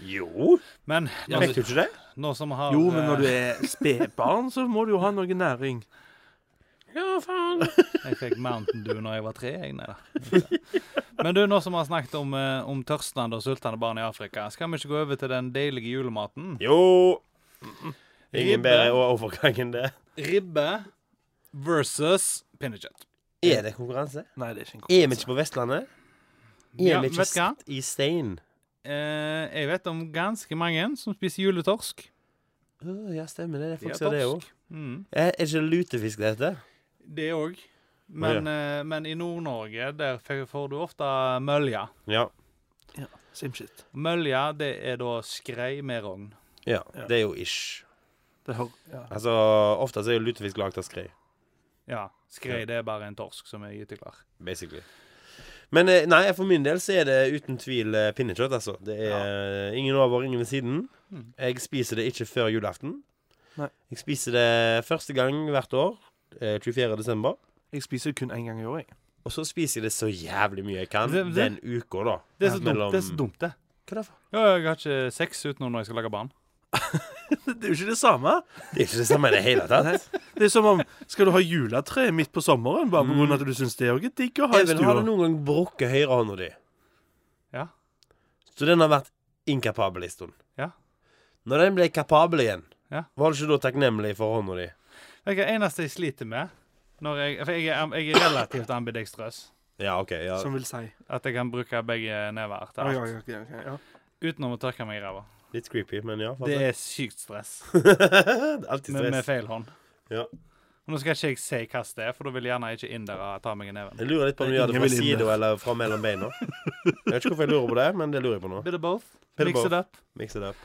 Jo. Men nå, Fikk du ikke det? nå som vi har Jo, men når du eh, er spedbarn, så må du jo ha noe næring. Ja, faen. eh, Jeg fikk Mountain Dew når jeg var tre. Jeg, nei, da. Men du, nå som vi har snakket om, eh, om tørstende og sultende barn i Afrika, skal vi ikke gå over til den deilige julematen? Jo. Ingen bedre overgang enn det. Ribbe versus pinnekjøtt. Er det konkurranse? Nei, det er ikke en Er vi ikke på Vestlandet? Er Ja, vi vet ikke hva? i stein? Eh, jeg vet om ganske mange som spiser juletorsk. Å, ja, stemmer det. Det er De folk er som gjør det òg. torsk. Mm. Er er ikke lutefisk det heter? Det òg. Men, eh, men i Nord-Norge der f- får du ofte mølja. Ja. Ja, same shit. Mølja det er da skrei med rogn. ja. Ja. Det er jo ish. Det hører ja. Altså, Ofte så er jo lutefisk lagd av skrei. Ja, skrei det er bare en torsk som er gyteklar. Basically. Men eh, nei, for min del så er det uten tvil eh, pinnekjøtt, altså. Det er eh, ingen over, ingen ved siden. Mm. Jeg spiser det ikke før julaften. Nei. Jeg spiser det første gang hvert år, eh, 24. desember. Jeg spiser jo kun én gang i år, jeg. Og så spiser jeg det så jævlig mye jeg kan Det- det- den uka, da. Det er så Ja. dumt, det. er så Mellom- dumt det. Hva er det for? Ja, jeg har ikke sex utenom når jeg skal lage barn. Det er jo ikke det samme. Det er ikke det samme i det hele tatt. Det er som om Skal du ha juletre midt på sommeren bare på grunn av at du syns det òg er digg å ha i Even, har stua? du noen gang brukket høyrehånda di? Ja. Så den har vært inkapabel en stund. Ja. Når den ble kapabel igjen, Ja. var du ikke da takknemlig for hånda di? Vet du hva, Det eneste jeg sliter med når jeg, For jeg er, jeg er relativt ambidekstrøs. Ja, OK. Ja. Som vil si At jeg kan bruke begge never til Oi, alt. oi, oi, oi, ja. Utenom å tørke meg i ræva. Litt creepy, men ja. Det Det er sykt stress. er alltid Med, med stress. feil hånd. Ja. Og Nå skal ikke jeg si hva det er, for da vil gjerne ikke indere ta meg i neven. Jeg lurer litt på om du gjør det Ingen fra vil inn sida der. eller fra mellom beina. Jeg vet ikke hvorfor jeg lurer på det, men det lurer jeg på nå. Bit of both. Bit of Mix it both. up. Mix it up.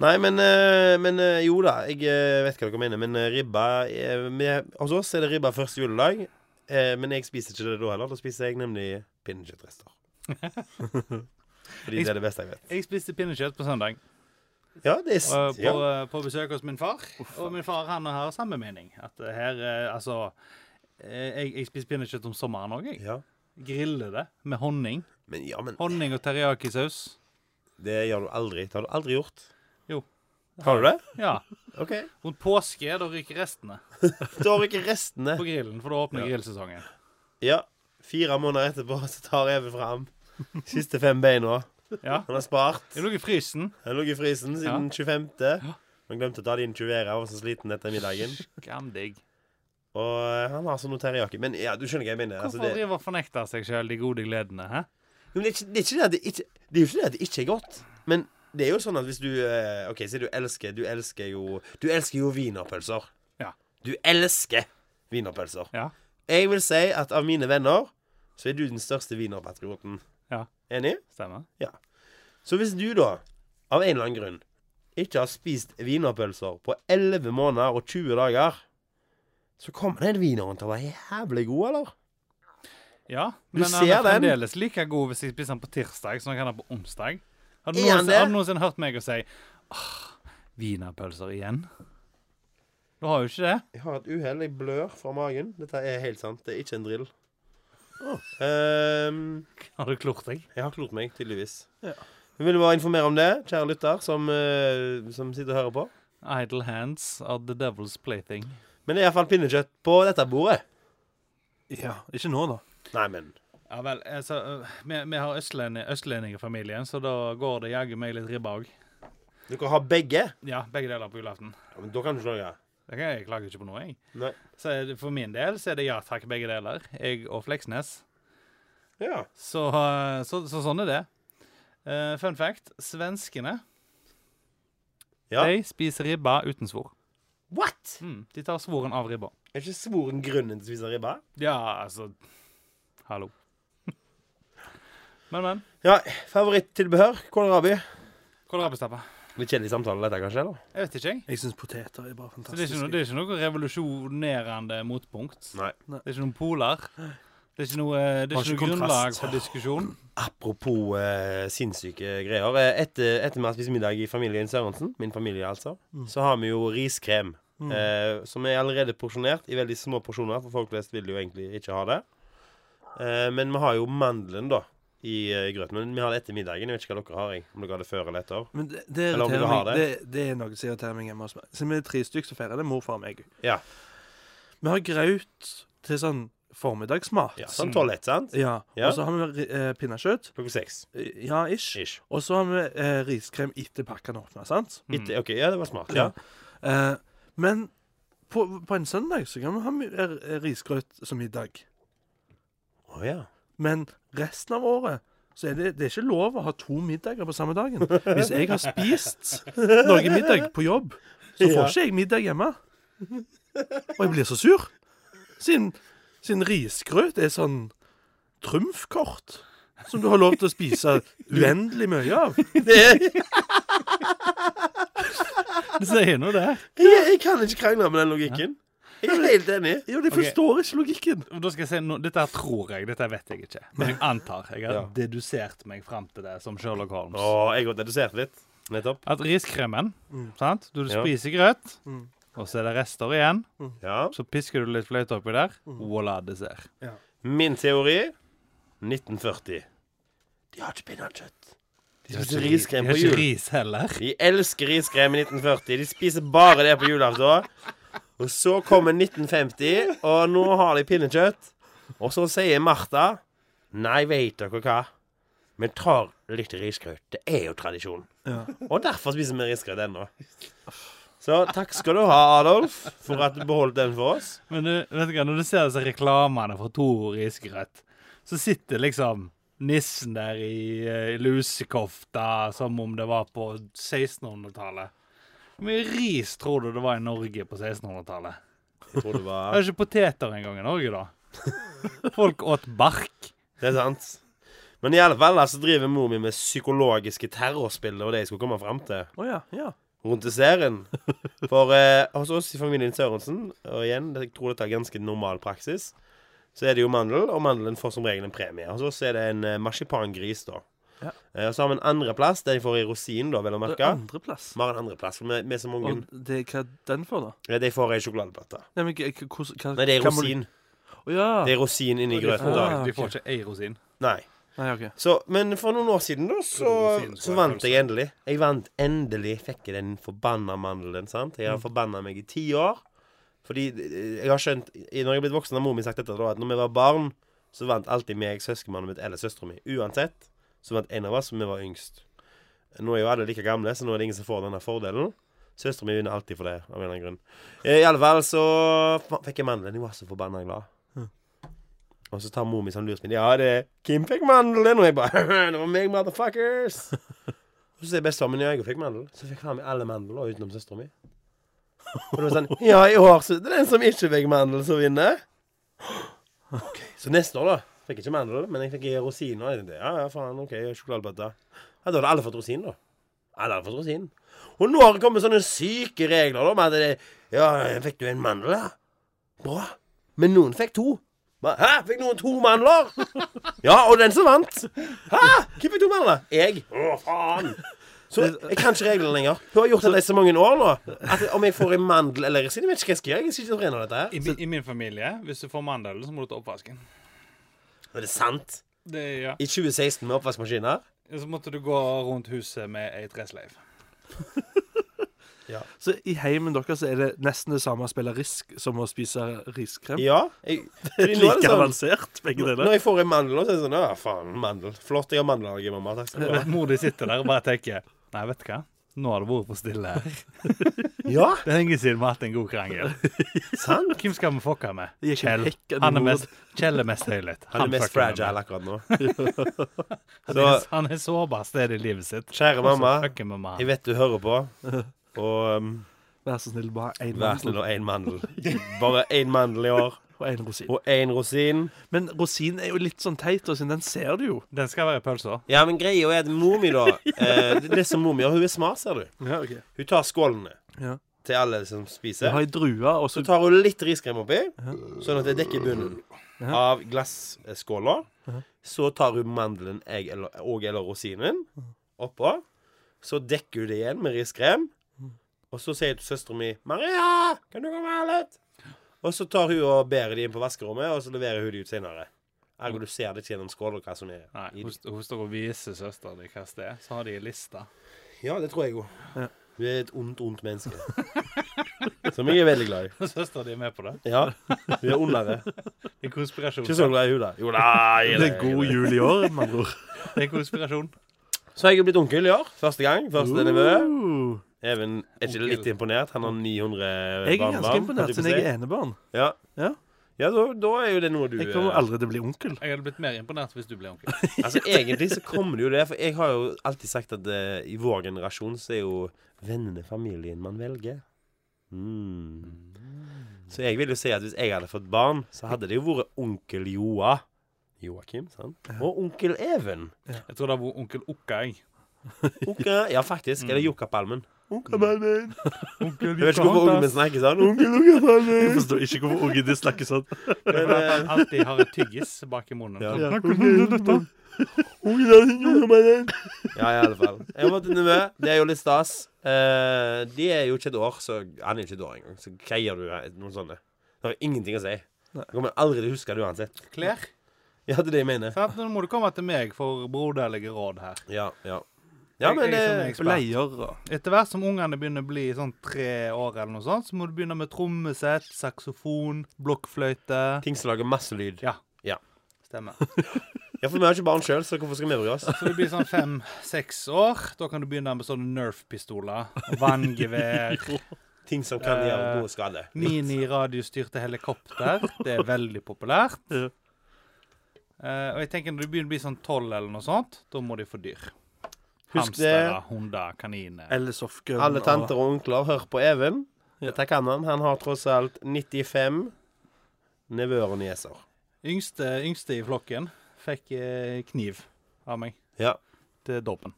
Nei, men, eh, men eh, jo da. Jeg eh, vet hva dere mener, men eh, ribba eh, med- Hos oss er det ribba første juledag. eh, Men jeg spiser ikke det da heller. Da spiser jeg nemlig pinnekjøttrester. Fordi det er det beste jeg vet. Jeg spiste pinnekjøtt på søndag. Ja, det er s- Og eh, på, ja. på besøk hos min far. og min far han har samme mening. At eh, her eh, Altså eh, Jeg, jeg spiser pinnekjøtt om sommeren òg, jeg. ja. Griller det med honning. Men ja, men Honning og teriyaki-saus. det gjør du aldri. Det har du aldri gjort. Jo. Har du det? Ja. OK. Rundt påske, da ryker restene Da har ikke restene. på grillen, for da åpner grillsesongen. Ja. Fire måneder etterpå så tar Even fram siste fem beina. Ja. Han har spart. Det lå i frysen. Han lå i frysen siden 25. Han glemte å ta det inn 20 og var så sliten etter middagen. Skamdigg. Og eh, han har sånn teriyaki. Men ja, du skjønner hva jeg mener. Altså, Hvorfor det, driver og fornekter seg sjøl de gode gledene? hæ? Jo, men det, er ikke, det, er ikke det, at det, ikke, det er jo ikke det at det ikke er godt. Men det er jo sånn at hvis du eh, OK, si du elsker Du elsker jo Du elsker jo wienerpølser. Ja. Du elsker wienerpølser. Ja. Jeg vil si at av mine venner så er du den største wienerpatrioten. Ja. Enig? Stemmer. Så hvis du da, av en eller annen grunn, ikke har spist wienerpølser på 11 måneder og 20 dager, så kommer den wieneren til å være jævlig god, eller? Ja, Du men han ser er den. fremdeles like god hvis jeg spiser den på tirsdag som jeg kan ha på onsdag. Har du Er han noensinne, det? har du noensinne hørt meg og si Åh, wienerpølser igjen? Du har jo ikke det. Jeg har et uhell. Jeg blør fra magen. Dette er helt sant. Det er ikke en drill. Ehm, Har du klort deg? jeg har klort meg, tydeligvis. Ja. Vi vil bare informere om det, kjære lytter som, eh, som sitter og hører på. Idle hands are the devil's plaything. Men det er iallfall pinnekjøtt på dette bordet. Ja, Ikke nå, da. Nei, men Ja vel, altså, øh, vi, vi har østlending, østlendingfamilien, så da går det jaggu meg litt ribbe òg. dere har begge. Ja, begge deler på julaften. Ja, men Da kan du ikke noe. Det kan jeg jeg klager ikke på noe, jeg. Nei. Så er det, for min del så er det ja takk, begge deler. Jeg og Fleksnes. Ja. Så, eh, så, så sånn er det. Eh, fun fact. Svenskene Ja. de spiser ribba uten svor. What?! Mm, de tar svoren av ribba. Er ikke svoren grunnen til å spise ribbe? Ja, altså Hallo. men, men. Ja, favorittilbehør? Kålrabi. Kålrabistappe. Litt kjedelig samtale, dette, kanskje? eller? Jeg vet ikke, jeg. Jeg syns poteter er bare Så det er, ikke noe, fantastisk. det er ikke noe revolusjonerende motpunkt. Nei. Det er ikke noen poler. Det er ikke noe, eh, det er Har ikke ikke noe grunnlag kontrast. for diskusjon. Apropos eh, sinnssyke greier. Eh, Etter, etter vi har spist middag i familien Sørensen, min familie altså, så har vi jo riskrem. Eh, som er allerede porsjonert i veldig små porsjoner, for folk flest vil jo egentlig ikke ha det. Eh, men vi har jo mandelen, da, i eh, grøten. Men vi har det etter middagen. Jeg vet ikke hva dere har, jeg. Om dere har det før eller etter. Men det, det, Eller om du irriterer har meg, det. det er noe som irriterer meg hjemme hos meg. Siden vi er tre stykker som feirer det, mor, far og meg. Ja. Vi har graut til sånn formiddagsmat. ja sånn tolv ett, sant? Ja, Ja. Og så har vi eh, pinnekjøtt. Klokka seks. Ja, ish. Ish. Og så har vi eh, riskrem etter pakken er åpna, sant? Etter, OK, ja, det var smart. Mm. Ja. Eh, men på, på en søndag så kan vi ha mye, eh, risgrøt som middag. Å ja. Men resten av året så er det, det er ikke lov å ha to middager på samme dagen. Hvis jeg har spist noe middag på jobb, så får Ja. ikke jeg middag hjemme. Og jeg blir så sur. Siden, siden risgrøt er sånn trumfkort som du har lov til å spise uendelig mye av. Det sier nå det. Jeg, jeg kan ikke krangle med den logikken. Jeg er helt enig. Jo, jeg forstår ikke logikken. Da skal jeg si noe, Dette her tror jeg, dette her vet jeg ikke. Men jeg antar. Jeg har Ja. dedusert meg fram til det som Sherlock Holmes. Å, jeg har dedusert litt. Nettopp. At riskremen sant? Du Ja. spiser grøt, og så er det rester igjen. Ja. Så pisker du litt fløyte oppi der. Voilà, dessert. Min teori 1940. De har ikke pinnekjøtt. De spiser riskrem De har på ikke jul. ris heller. De elsker riskrem i 1940. De spiser bare det på julaften. Og så kommer 1950, og nå har de pinnekjøtt. Og så sier Martha Nei, veit dere hva? Vi tar litt risgrøt. Det er jo tradisjon. Ja. Og derfor spiser vi risgrøt ennå. Så takk skal du ha, Adolf, for at du beholdt den for oss. Men du, vet du hva, når du ser disse reklamene for Toro risgrøt, så sitter liksom nissen der i, eh, i lusekofta som om det var på 1600-tallet. Hvor mye ris tror du det var i Norge på 1600-tallet? Jeg tror det Det var er ikke poteter engang i Norge, da. Folk åt bark. Det er sant. Men i alle fall da, så driver mor mi med psykologiske terrorspill, og det jeg skulle komme fram til. Å ja. ja. rundt desserten. For eh, hos oss i familien Sørensen, og igjen, jeg tror dette er ganske normal praksis, så er det jo mandel, og mandelen får som regel en premie. Hos oss er det en eh, marsipangris, da. Ja. Eh, og så har vi en andreplass, den får i rosin, da, vel å Det merke. er andreplass. Vi har en andreplass, for vi vi er så mange Og det, hva er den for, da? Ja, De får ei sjokoladeplate. Nei, men, hva- hvordan- hva, Nei, det er hva må du- rosin. Å ja. Det er rosin inni De grøten, får, da. Ah, de får ikke ei rosin. Nei. Nei, OK. Så, men for noen år siden, da, så, noen år siden, så så vant kanskje. jeg endelig. Jeg vant endelig. Fikk jeg den forbanna mandelen. sant? Jeg har Mm. forbanna meg i ti år. Fordi eh, jeg har skjønt i- Når jeg er blitt voksen, har mor min sagt dette da, at når vi var barn, så vant alltid meg, søskenmannen mitt eller søstera mi. Uansett så vant en av oss, men vi var yngst. Nå er jo alle like gamle, så nå er det ingen som får denne fordelen. Søstera mi vinner alltid for det, av en eller annen grunn. Eh, I alle fall så fa- fikk jeg mandelen. Jeg var så forbanna glad. Og så tar mor mi sånn lursmid. Ja, det er Kim fikk mandelen. Og jeg bare Det var meg, motherfuckers. Og så sier bestefaren min ja, jeg fikk mandel. Så fikk han med alle mandel, og utenom søstera mi. Og det var sånn Ja, i år så er det den som ikke fikk mandel, som vinner. Ok, Så neste år, da. Fikk jeg ikke mandel, men jeg fikk rosiner. Jeg tenkte, ja, ja, faen, OK, sjokoladebøtte. Ja, da hadde alle fått rosin, da. Alle hadde fått rosin. Og nå har det kommet sånne syke regler, da, med at det Ja, fikk du en mandel, da? Bra. Men noen fikk to. Hva? Hæ? Fikk noen to mandler? Ja, og den som vant. Hæ? Hvem fikk to mandler? Jeg. Å, faen. Så jeg kan ikke reglene lenger. Hun har gjort dette i så mange år nå. At om jeg får en mandel eller resin, jeg vet ikke hva jeg skal gjøre. Jeg skal ikke trene dette her. I, mi- I min familie, hvis du får mandel, så må du ta oppvasken. Er det sant? Det, ja. I 2016 med oppvaskmaskiner? Så måtte du gå rundt huset med ei tresleiv. Så i heimen deres er det nesten det samme å spille risk som å spise riskrem? Ja. Jeg, Det er fordi nå er like det sånn- avansert, begge deler. Når jeg får en mandel, nå, så er det sånn Ja, faen, mandel. Flott, jeg har mandelallergi, mamma. Takk skal du ha. Mor di sitter der og bare tenker Nei, vet du hva? Nå har det vært for stille her. Ja, Det er lenge siden vi har hatt en god krangel. sant? Hvem skal vi fucke med? Det gikk en Kjell. hekk av Han er noe. mest, Kjell er mest høylytt. Han er mest fucker med meg. fragile akkurat nå. Han Så er, han er sårbar sted i livet sitt. kjære mamma, Så fucker vi med jeg han. vet du hører på. Og um, Vær så snill, bare én Vær snill mandel og én mandel. Bare én mandel i år. og én rosin. Og én rosin. Men rosin er jo litt sånn teit, og siden den ser du jo. Den skal være i pølsa. Ja, men greia er at mor mi, da eh, Det det som mor mi gjør, hun er smart, ser du. Ja, ok. Hun tar skålene Ja. til alle som Du spiser. har ei drue, og så Så tar hun litt riskrem oppi, sånn at det dekker bunnen av glasskåla. Så tar hun mandelen egg, eller, og eller rosinen oppå. Så dekker hun det igjen med riskrem. Og så sier jeg til søstera mi 'Maria, kan du komme her litt?' Og så tar hun og bærer de inn på vaskerommet, og så leverer hun de ut senere. Ergo du ser det ikke gjennom skåla hva som er Nei, i hun, de. st- hun står og viser søsteren din hva det er. Så har de ei liste. Ja, det tror jeg jo. Ja. Hun er et ondt, ondt menneske. som jeg er veldig glad i. Søsteren din er med på det. Ja. Hun er ondere. Det er konspirasjon. Ikke så glad i hun, da. Jo da, jeg Det er god jul i år, med andre ord. Det er konspirasjon. Så har jeg blitt onkel i år. Første gang. Første nevø. Uh, Even er ikke Onkel. litt imponert. Han har 900 Jeg er ganske barnebarn, imponert, holdt jeg på siden jeg å si. er enebarn. Ja, Ja. ja da, da er jo det noe du Jeg eh, kommer aldri til å bli onkel. Jeg hadde blitt mer imponert hvis du ble onkel. Altså Egentlig så kommer det jo det. For jeg har jo alltid sagt at eh, i vår generasjon så er jo vennene familien man velger. Mm. Så jeg vil jo si at hvis jeg hadde fått barn, så hadde det jo vært onkel Joa. Joakim, sant? Og onkel Even. Jeg tror det var onkel Okka, jeg. Onkel, ja, faktisk. Eller Mm. Jokapalmen. Onkel Benjamin. Jeg vet ikke hvorfor ungen min snakker sånn. Onkel Jokapalmen. Jeg forstår ikke hvorfor ungen din snakker sånn. Men, Fordi at eh, han alltid har et tyggis bak i munnen. Ja. Ungen Ja, i alle fall. Jeg må til Nevø. Det er jo litt stas. Eh, de er jo ikke et år, så han er jo ikke et år engang. Så hva gjør du med noen sånne? Det har ingenting å si. Nei. Jeg kommer aldri til å huske det uansett. Klær. Ja, det er det jeg mener. Sant? Nå må du komme til meg for broderlige råd her. Ja, ja. Ja, Jeg- men jeg er sånn eh, ekspert. og leier og Etter hvert som ungene begynner å bli sånn tre år, eller noe sånt, så må du begynne med trommesett, saksofon, blokkfløyte. ting som lager masse lyd. Ja. Ja. Stemmer. Ja, for vi har ikke barn sjøl, så hvorfor skal vi bry oss? Så det blir sånn fem-seks år. Da kan du begynne med sånne Nerf-pistoler, vanngevær, Ting som kan Eh, gjøre noe skade. mini-radiostyrte helikopter. Det er veldig populært. Ja. Eh, og jeg tenker Når du begynner å bli sånn tolv, eller noe sånt, da må de få dyr. Husk Hamstere, hunder, kaniner. Eller softgun. Alle tanter og onkler, hør på Even. Ja. Dette kan han. Han har tross alt 95 nevøer og nieser. Yngste, yngste i flokken fikk eh, kniv av meg Ja. til dåpen.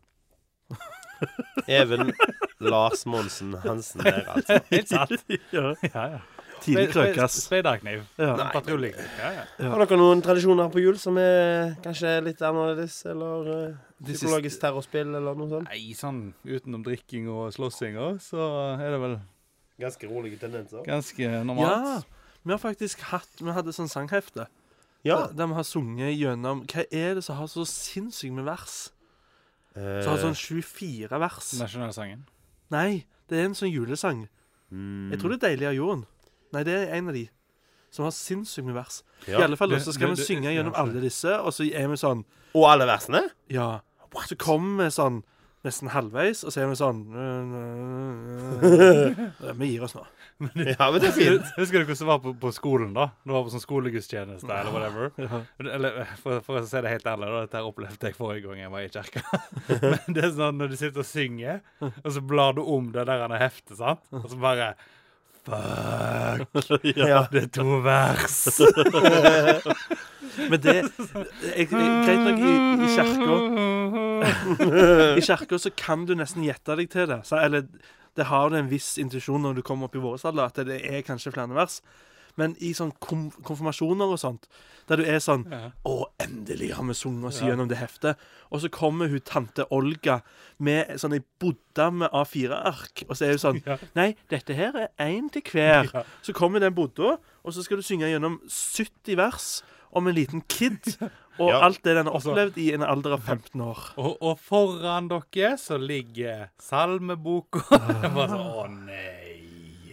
Even Lars Monsen Hansen der, altså. Helt sant. ja. Ja, ja. Tidlig krøkas. Speiderkniv. Ja. Nei, Patruljekniv. Ja, ja. Ja. Har dere noen tradisjoner på jul som er kanskje litt annerledes, eller eh, De siste- psykologisk terrorspill, eller noe sånt? Nei, sånn utenom drikking og slåssing òg, så er det vel Ganske rolige tendenser. ganske ja. normalt. Vi har faktisk hatt Vi hadde sånn sanghefte Ja. der, der vi har sunget gjennom Hva er det som har så sinnssykt med vers? Eh, Som har sånn 24 vers? Nasjonalsangen. Nei, det er en sånn julesang. Jeg tror det er 'Deilig av jorden'. Nei, det er en av de som har sinnssykt med vers. Ja. I alle fall, Det- så skal det- vi det- synge gjennom ja, alle disse, og så er vi sånn Og alle versene? Ja. Så kommer vi sånn nesten halvveis, og så er vi sånn Ja, Vi gir oss nå. Ja, men det er fint. Husker du hvordan det var på, på skolen, da? Du var på sånn skolegudstjeneste eller whatever. Eller eh, for, for å si det helt ærlig, da, dette her opplevde jeg forrige gang jeg var i kirka. Men det er sånn at når du sitter og synger, og så blar du om det der han har heftet, sant? Og så bare Fuck! Ja. Det er to vers. Men det jeg, jeg, Greit nok, i, i kirka I kirka så kan du nesten gjette deg til det. Så, eller det har du en viss intuisjon når du kommer opp i vår alder, at det er kanskje flere vers. Men i sånn kom, konfirmasjoner og sånt, der du er sånn Ja. Å, endelig har vi sunget oss gjennom det heftet. Og så kommer hun tante Olga med sånn ei bodda med A4-ark, og så er hun sånn Ja. Nei, dette her er én til hver. Ja. Så kommer den bodda, og så skal du synge gjennom 70 vers om en liten kid. Og Ja. alt det den Altså har opplevd i en alder av 15 år. Og, og foran dere så ligger salmeboka. Ah. Det var sånn Å, nei.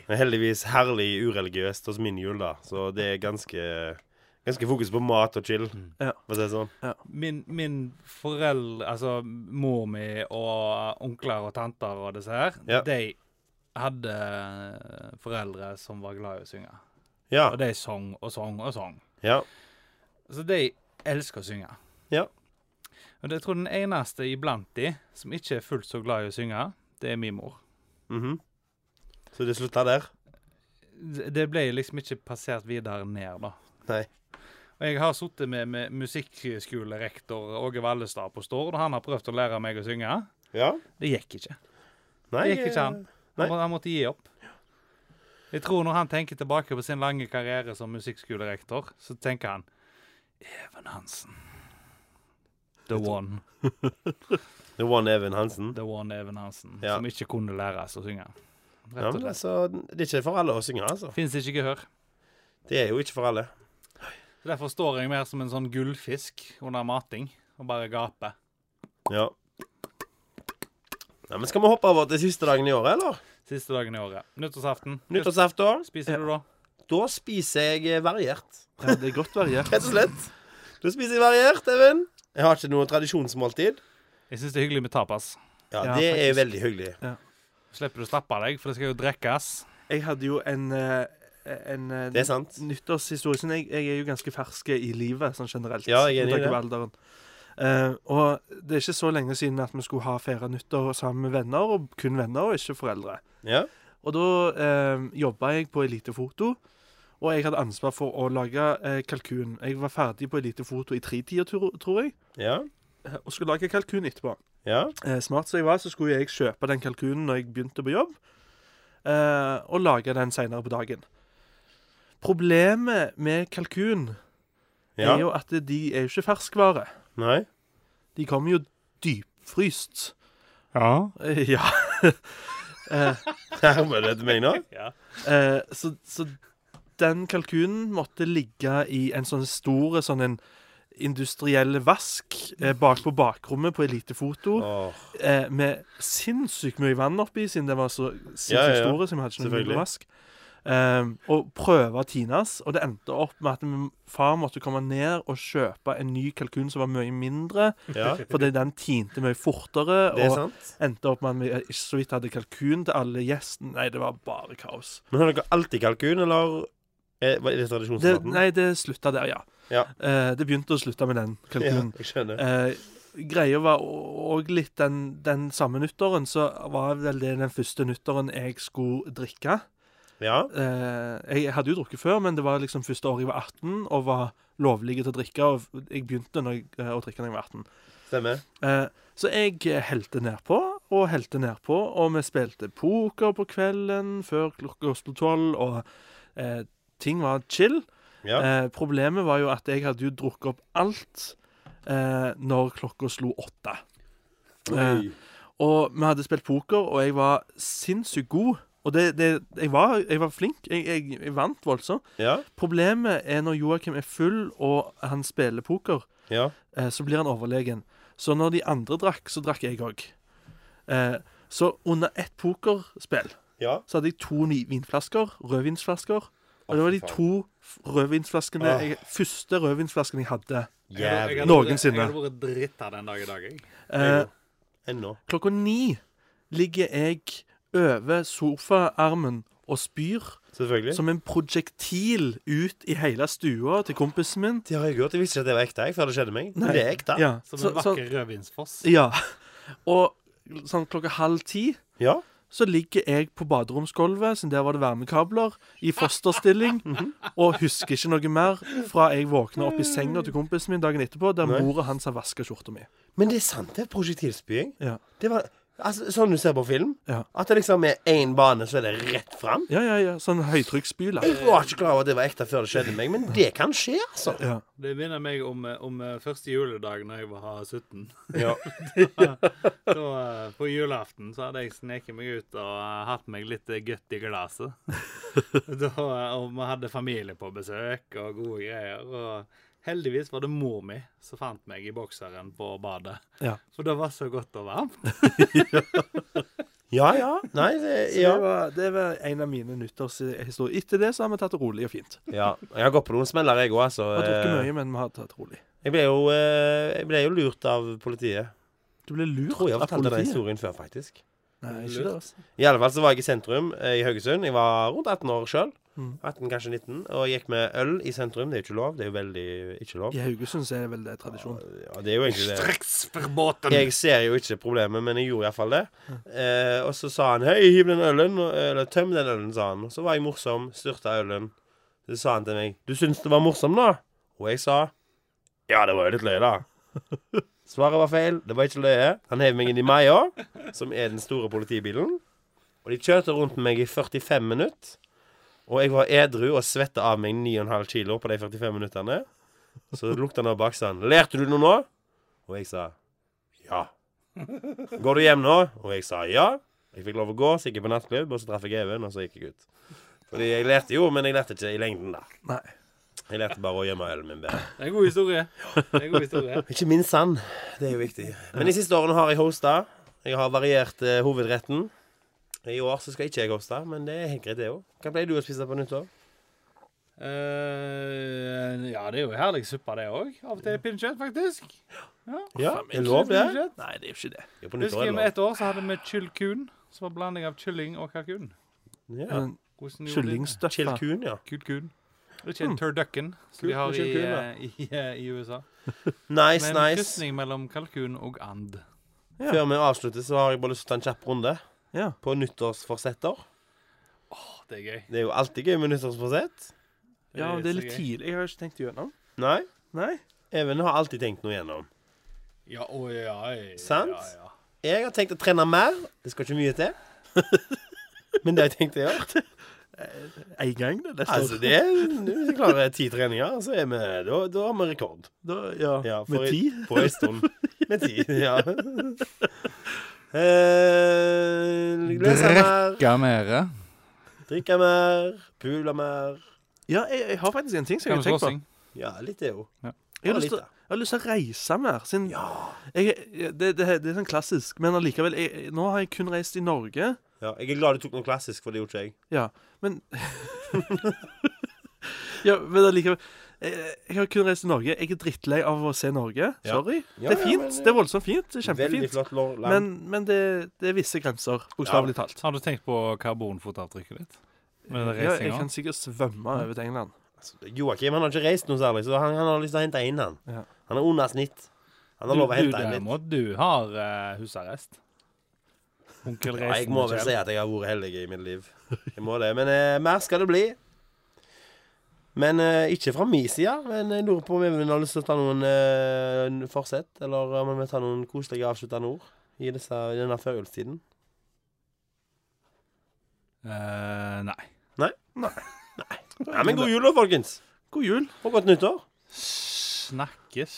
Men heldigvis herlig ureligiøst hos min jul, da. Så det er ganske, ganske fokus på mat og chill, Ja. for å si det sånn. Min, min foreldre, altså mor mi og onkler og tanter og disse her, Ja. de hadde foreldre som var glad i å synge. Ja. Og de sang og sang og sang. Ja. Så de elsker å synge. Ja. Og det- jeg tror den eneste iblant de som ikke er fullt så glad i å synge, det er min mor. Mhm. Så det slutta der. det det ble liksom ikke passert videre ned, da. Nei. Og jeg har sittet med, med musikkskolerektor Åge Vallestad på Stord, og han har prøvd å lære meg å synge. Ja. Det gikk ikke. Nei, eh, Det gikk ikke an. Nei. Han, må, han måtte gi opp. Jeg tror når han tenker tilbake på sin lange karriere som musikkskolerektor, så tenker han Even Hansen. The one. The One Even Hansen. The one Even Hansen. Ja. Som ikke kunne læres å synge. Ja, Rett og men slett. altså, det er ikke for alle å synge, altså. Fins ikke gehør. Det er jo ikke for alle. Derfor står jeg mer som en sånn gullfisk under mating og bare gaper. Ja. ja men skal vi hoppe over til siste dagen i året, eller? Siste dagen i året. Nyttårsaften. Nyttårsaften. Spiser du da? Da spiser jeg eh, variert. Ja, det er godt variert. Rett og slett. Da spiser jeg variert, Even. Jeg har ikke noe tradisjongsmåltid. Jeg syns det er hyggelig med tapas. Ja, Ja, det er faktisk. veldig hyggelig. Slipper du å slappe av deg, for det skal jo drikkes. Jeg hadde jo en, eh, en eh, Det er sant. nyttårshistorie siden jeg, jeg er jo ganske fersk i livet sånn generelt. Ja, jeg er enig i med tanke det. på alderen. Eh, og det er ikke så lenge siden at vi skulle ha feire nyttår sammen med venner, og kun venner, og ikke foreldre. Ja. Og da eh, jobba jeg på Elite Foto, og jeg hadde ansvar for å lage eh, kalkun. Jeg var ferdig på Elite Foto i tretida, tror tror jeg, Ja. eh, og skulle lage kalkun etterpå. Ja. eh, smart som jeg var, så skulle jeg kjøpe den kalkunen når jeg begynte på jobb, eh, og lage den senere på dagen. Problemet med kalkun ja. er jo at de er jo ikke ferskvare. Nei. De kommer jo dypfryst. Ja. Eh, ja. eh, Hermer det til meg nå? eh, så, så den kalkunen måtte ligge i en sånn stor sånn en industriell vask eh, bak på bakrommet på Elitefoto. Åh, eh, med sinnssykt mye vann oppi, siden det var så sinnssykt Ja, ja, ja. store. Så vi hadde ikke noe Selvfølgelig. mulig vask. Um, og prøve å tines, og det endte opp med at min far måtte komme ned og kjøpe en ny kalkun som var mye mindre, ja. fordi den tinte mye fortere. Det er Og sant. endte opp med at vi eh, ikke så vidt hadde kalkun til alle gjestene. Nei, det var bare kaos. Men har dere alltid kalkun, eller er er det Det, tradisjonsmaten? nei, det slutta der, ja. Ja. Eh, det begynte å slutte med den Ja, kalkunen. jeg skjønner. Eh, greia var òg litt den, den samme nyttåren, så var vel det den første nyttåren jeg skulle drikke. Ja. Eh, jeg hadde jo drukket før, men det var liksom første året jeg var 18 og var lovlig til å drikke. Og jeg begynte når jeg, eh, å drikke da jeg var 18. Stemmer. Eh, så jeg helte nedpå og helte nedpå, og vi spilte poker på kvelden før klokka slo tolv, og eh, ting var chill. Ja. Eh, problemet var jo at jeg hadde jo drukket opp alt eh, når klokka slo åtte. Eh, Oi. og vi hadde spilt poker, og jeg var sinnssykt god. Og det, det, jeg, var, jeg var flink. Jeg, jeg, jeg vant voldsomt. Ja. Problemet er når Joakim er full og han spiller poker, Ja. eh, så blir han overlegen. Så når de andre drakk, så drakk jeg òg. Eh, så under ett pokerspill Ja. så hadde jeg to ni- vinflasker, rødvinsflasker. Og det var de fy faen. Ah. to f- rødvinsflaskene Åh. jeg, første rødvinsflasken jeg hadde. Jævlig. Noensinne. Jeg hadde vært dritta den dag i dag, jeg. Eh, Ennå. klokka ni ligger jeg over sofaarmen og spyr Selvfølgelig. som en projektil ut i hele stua til kompisen min. Det har jeg gjort. Jeg visste ikke at det var ekte jeg, før det skjedde meg. Men Nei. det er ekte. Ja, Som så- en så- vakker rødvinsfoss. ja. Og sånn klokka halv ti Ja. så ligger jeg på baderomsgulvet, siden der var det varmekabler, i fosterstilling, Mhm. og husker ikke noe mer fra jeg våkna opp i senga til kompisen min dagen etterpå, der Nei. mora hans har vaska skjorta mi. Men det er sant, det er prosjektilspying. Ja. Det var altså, sånn du ser på film. Ja. At det liksom er én bane, så er det rett fram. ja, ja, ja. Sånn høytrykksspyler. Jeg var ikke klar over at det var ekte før det skjedde meg, men det kan skje, altså. Ja. Det minner meg om, eh, om eh, første juledag da jeg var 17. Ja. Da, eh, på julaften så hadde jeg sneket meg ut og eh, hatt meg litt eh, godt i glasset. da, eh, og vi hadde familie på besøk og gode greier. Og heldigvis var det mor mi som fant meg i bokseren på badet. Ja. For det var så godt og varmt. Ja, ja. Nei, det, Så ja. det, var, det var en av mine nyttårshistorier. Etter det så har vi tatt det rolig og fint. ja. Jeg har gått på noen smeller, jeg òg, altså. Vi har drukket Eh, mye, men vi har tatt det rolig. Jeg ble, jo, eh, jeg ble jo lurt av politiet. Du ble lurt Tror jeg har av fortalt den politiet. historien før, faktisk. Nei, ikke det, altså. I alle fall så var jeg i sentrum eh, i Haugesund. Jeg var rundt 18 år sjøl. Mm. 18, kanskje 19. Og jeg gikk med øl i sentrum. Det er jo ikke lov. Det er jo veldig ikke lov. I Haugesund så er det vel det tradisjon. Ja, det er jo egentlig det. Streks for båten! Jeg ser jo ikke problemet, men jeg gjorde iallfall det. Eh, og så sa han 'Hei, hiv den ølen', og- eller 'tøm den ølen', sa han. Og så var jeg morsom, styrta ølen. Så sa han til meg 'Du syns det var morsom, da?' Og jeg sa 'Ja, det var jo litt løye, da'. Svaret var feil. Det var ikke løye. Han hev meg inn i Maja, som er den store politibilen. Og de kjørte rundt med meg i 45 minutter. Og jeg var edru og svetta av meg 9,5 kilo på de 45 minuttene. Så lukta han av bak sa han 'Lærte du noe nå?' Og jeg sa ja. Går du hjem nå? Og jeg sa ja. Jeg fikk lov å gå, så gikk jeg på nattklubb, og så traff jeg Even, og så gikk jeg ut. Fordi jeg lærte jo, men jeg lærte ikke i lengden, da. Nei. Jeg lærte bare å gjemme ølen min bedre. Det er en god historie. Det er en god historie. Ikke minst han. Det er jo viktig. Men de siste årene har jeg hosta. Jeg har variert eh, hovedretten. I år så skal ikke jeg hoste, men det er helt greit, det òg. Hva pleier du å spise på nyttår? Eh, ja, det er jo herlig suppe, det òg. Av og til pinnekjøtt, faktisk. Ja, det er lov, det. Pinnekjøtt. Nei, det er jo ikke det. Ja, på Husker nyttår jeg er det med lov. ett år så hadde vi kyllkun, som var blanding av kylling og kalkun. Ja. Men Hvordan gjorde de det? Hmm. Kyllingstøffa. Chilkun, ja. Kalkun. Mm, Ikke en turducken, som de har i, Kalkun, ja. eh, i, eh, i USA. Nice, Med en nice. krysning mellom kalkun og and. Før vi avslutter, så har jeg bare lyst til å ta en kjapp runde Ja. på nyttårsforsetter. Åh, det er gøy. Det er jo alltid gøy med nyttårsforsett. ja, men det er litt så gøy. tidlig. Jeg har ikke tenkt igjennom. Nei. Nei. Even har alltid tenkt noe gjennom. Ja, å, ja, ja, Sant? Ja, ja. Jeg har tenkt å trene mer. Det skal ikke mye til. Men det har jeg tenkt å gjøre. Én gang det neste Altså, år. det er, Hvis vi klarer ti treninger, så er vi, da, da har vi rekord. Da, ja. Ja, for Med i- ti. På ei stund. Med ti. Ja. Eh, Løse mer, mere. drikke mer, pule mer. Ja, jeg, jeg har faktisk en ting som jeg har tenkt på. Kammerslåssing. Ja, litt det òg. Jeg har, Og lyst litt, til, da. jeg har lyst til å reise mer. Siden jeg, jeg- det, det, det er sånn klassisk, men allikevel jeg, Nå har jeg kun reist i Norge. Ja, jeg er glad du tok noe klassisk, for det gjorde ikke jeg. Ja, men Ja, men allikevel jeg, jeg har kun reist i Norge. Jeg er drittlei av å se Norge. Ja. Sorry. Ja, det er ja, fint. men- eh, det er voldsomt fint. Det er Veldig kjempefint. flott lo- land. Men, men det, det er visse grenser, bokstavelig talt. Har du tenkt på karbonfotavtrykket ditt? Med den Ja, jeg reisinga? kan sikkert svømme over til England. Altså, Joakim han har ikke reist noe særlig, så han, han har lyst til å hente inn han. Ja. Han er under snitt. Han har lov å du, du hente inn litt. derimot, du har eh, husarrest. Onkel Ja, jeg Reisen. må og vel Kjell. si at jeg har vært heldig i mitt liv. Jeg må det, Men eh, mer skal det bli. Men eh, ikke fra min side. Men jeg lurer på om Even har lyst til å ta noen eh, n- forsett, eller om vi vil ta noen koselige avsluttende ord i disse, i denne førjulstiden. Eh, nei. Ja, men god jul, da, folkens. God jul. Og godt nyttår. Snakkes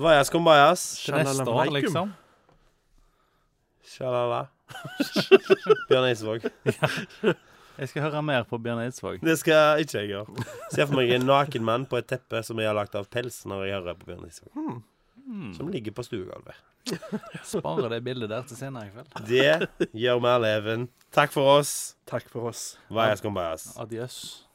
Vajas kom bajas. til neste år, Sjalalaikum. liksom. Sjalala. Bjørn Eidsvåg. Jeg skal høre mer på Bjørn Eidsvåg. Det skal ikke jeg gjøre. Se for meg en naken mann på et teppe som jeg har lagt av pelsen når jeg hører på Bjørn Eidsvåg. Hmm. Som ligger på stuegulvet. Spar det bildet der til senere i kveld. Det gjør vi, Leven. Takk for oss. Takk for oss. Vajas kom bajas. Adjøs.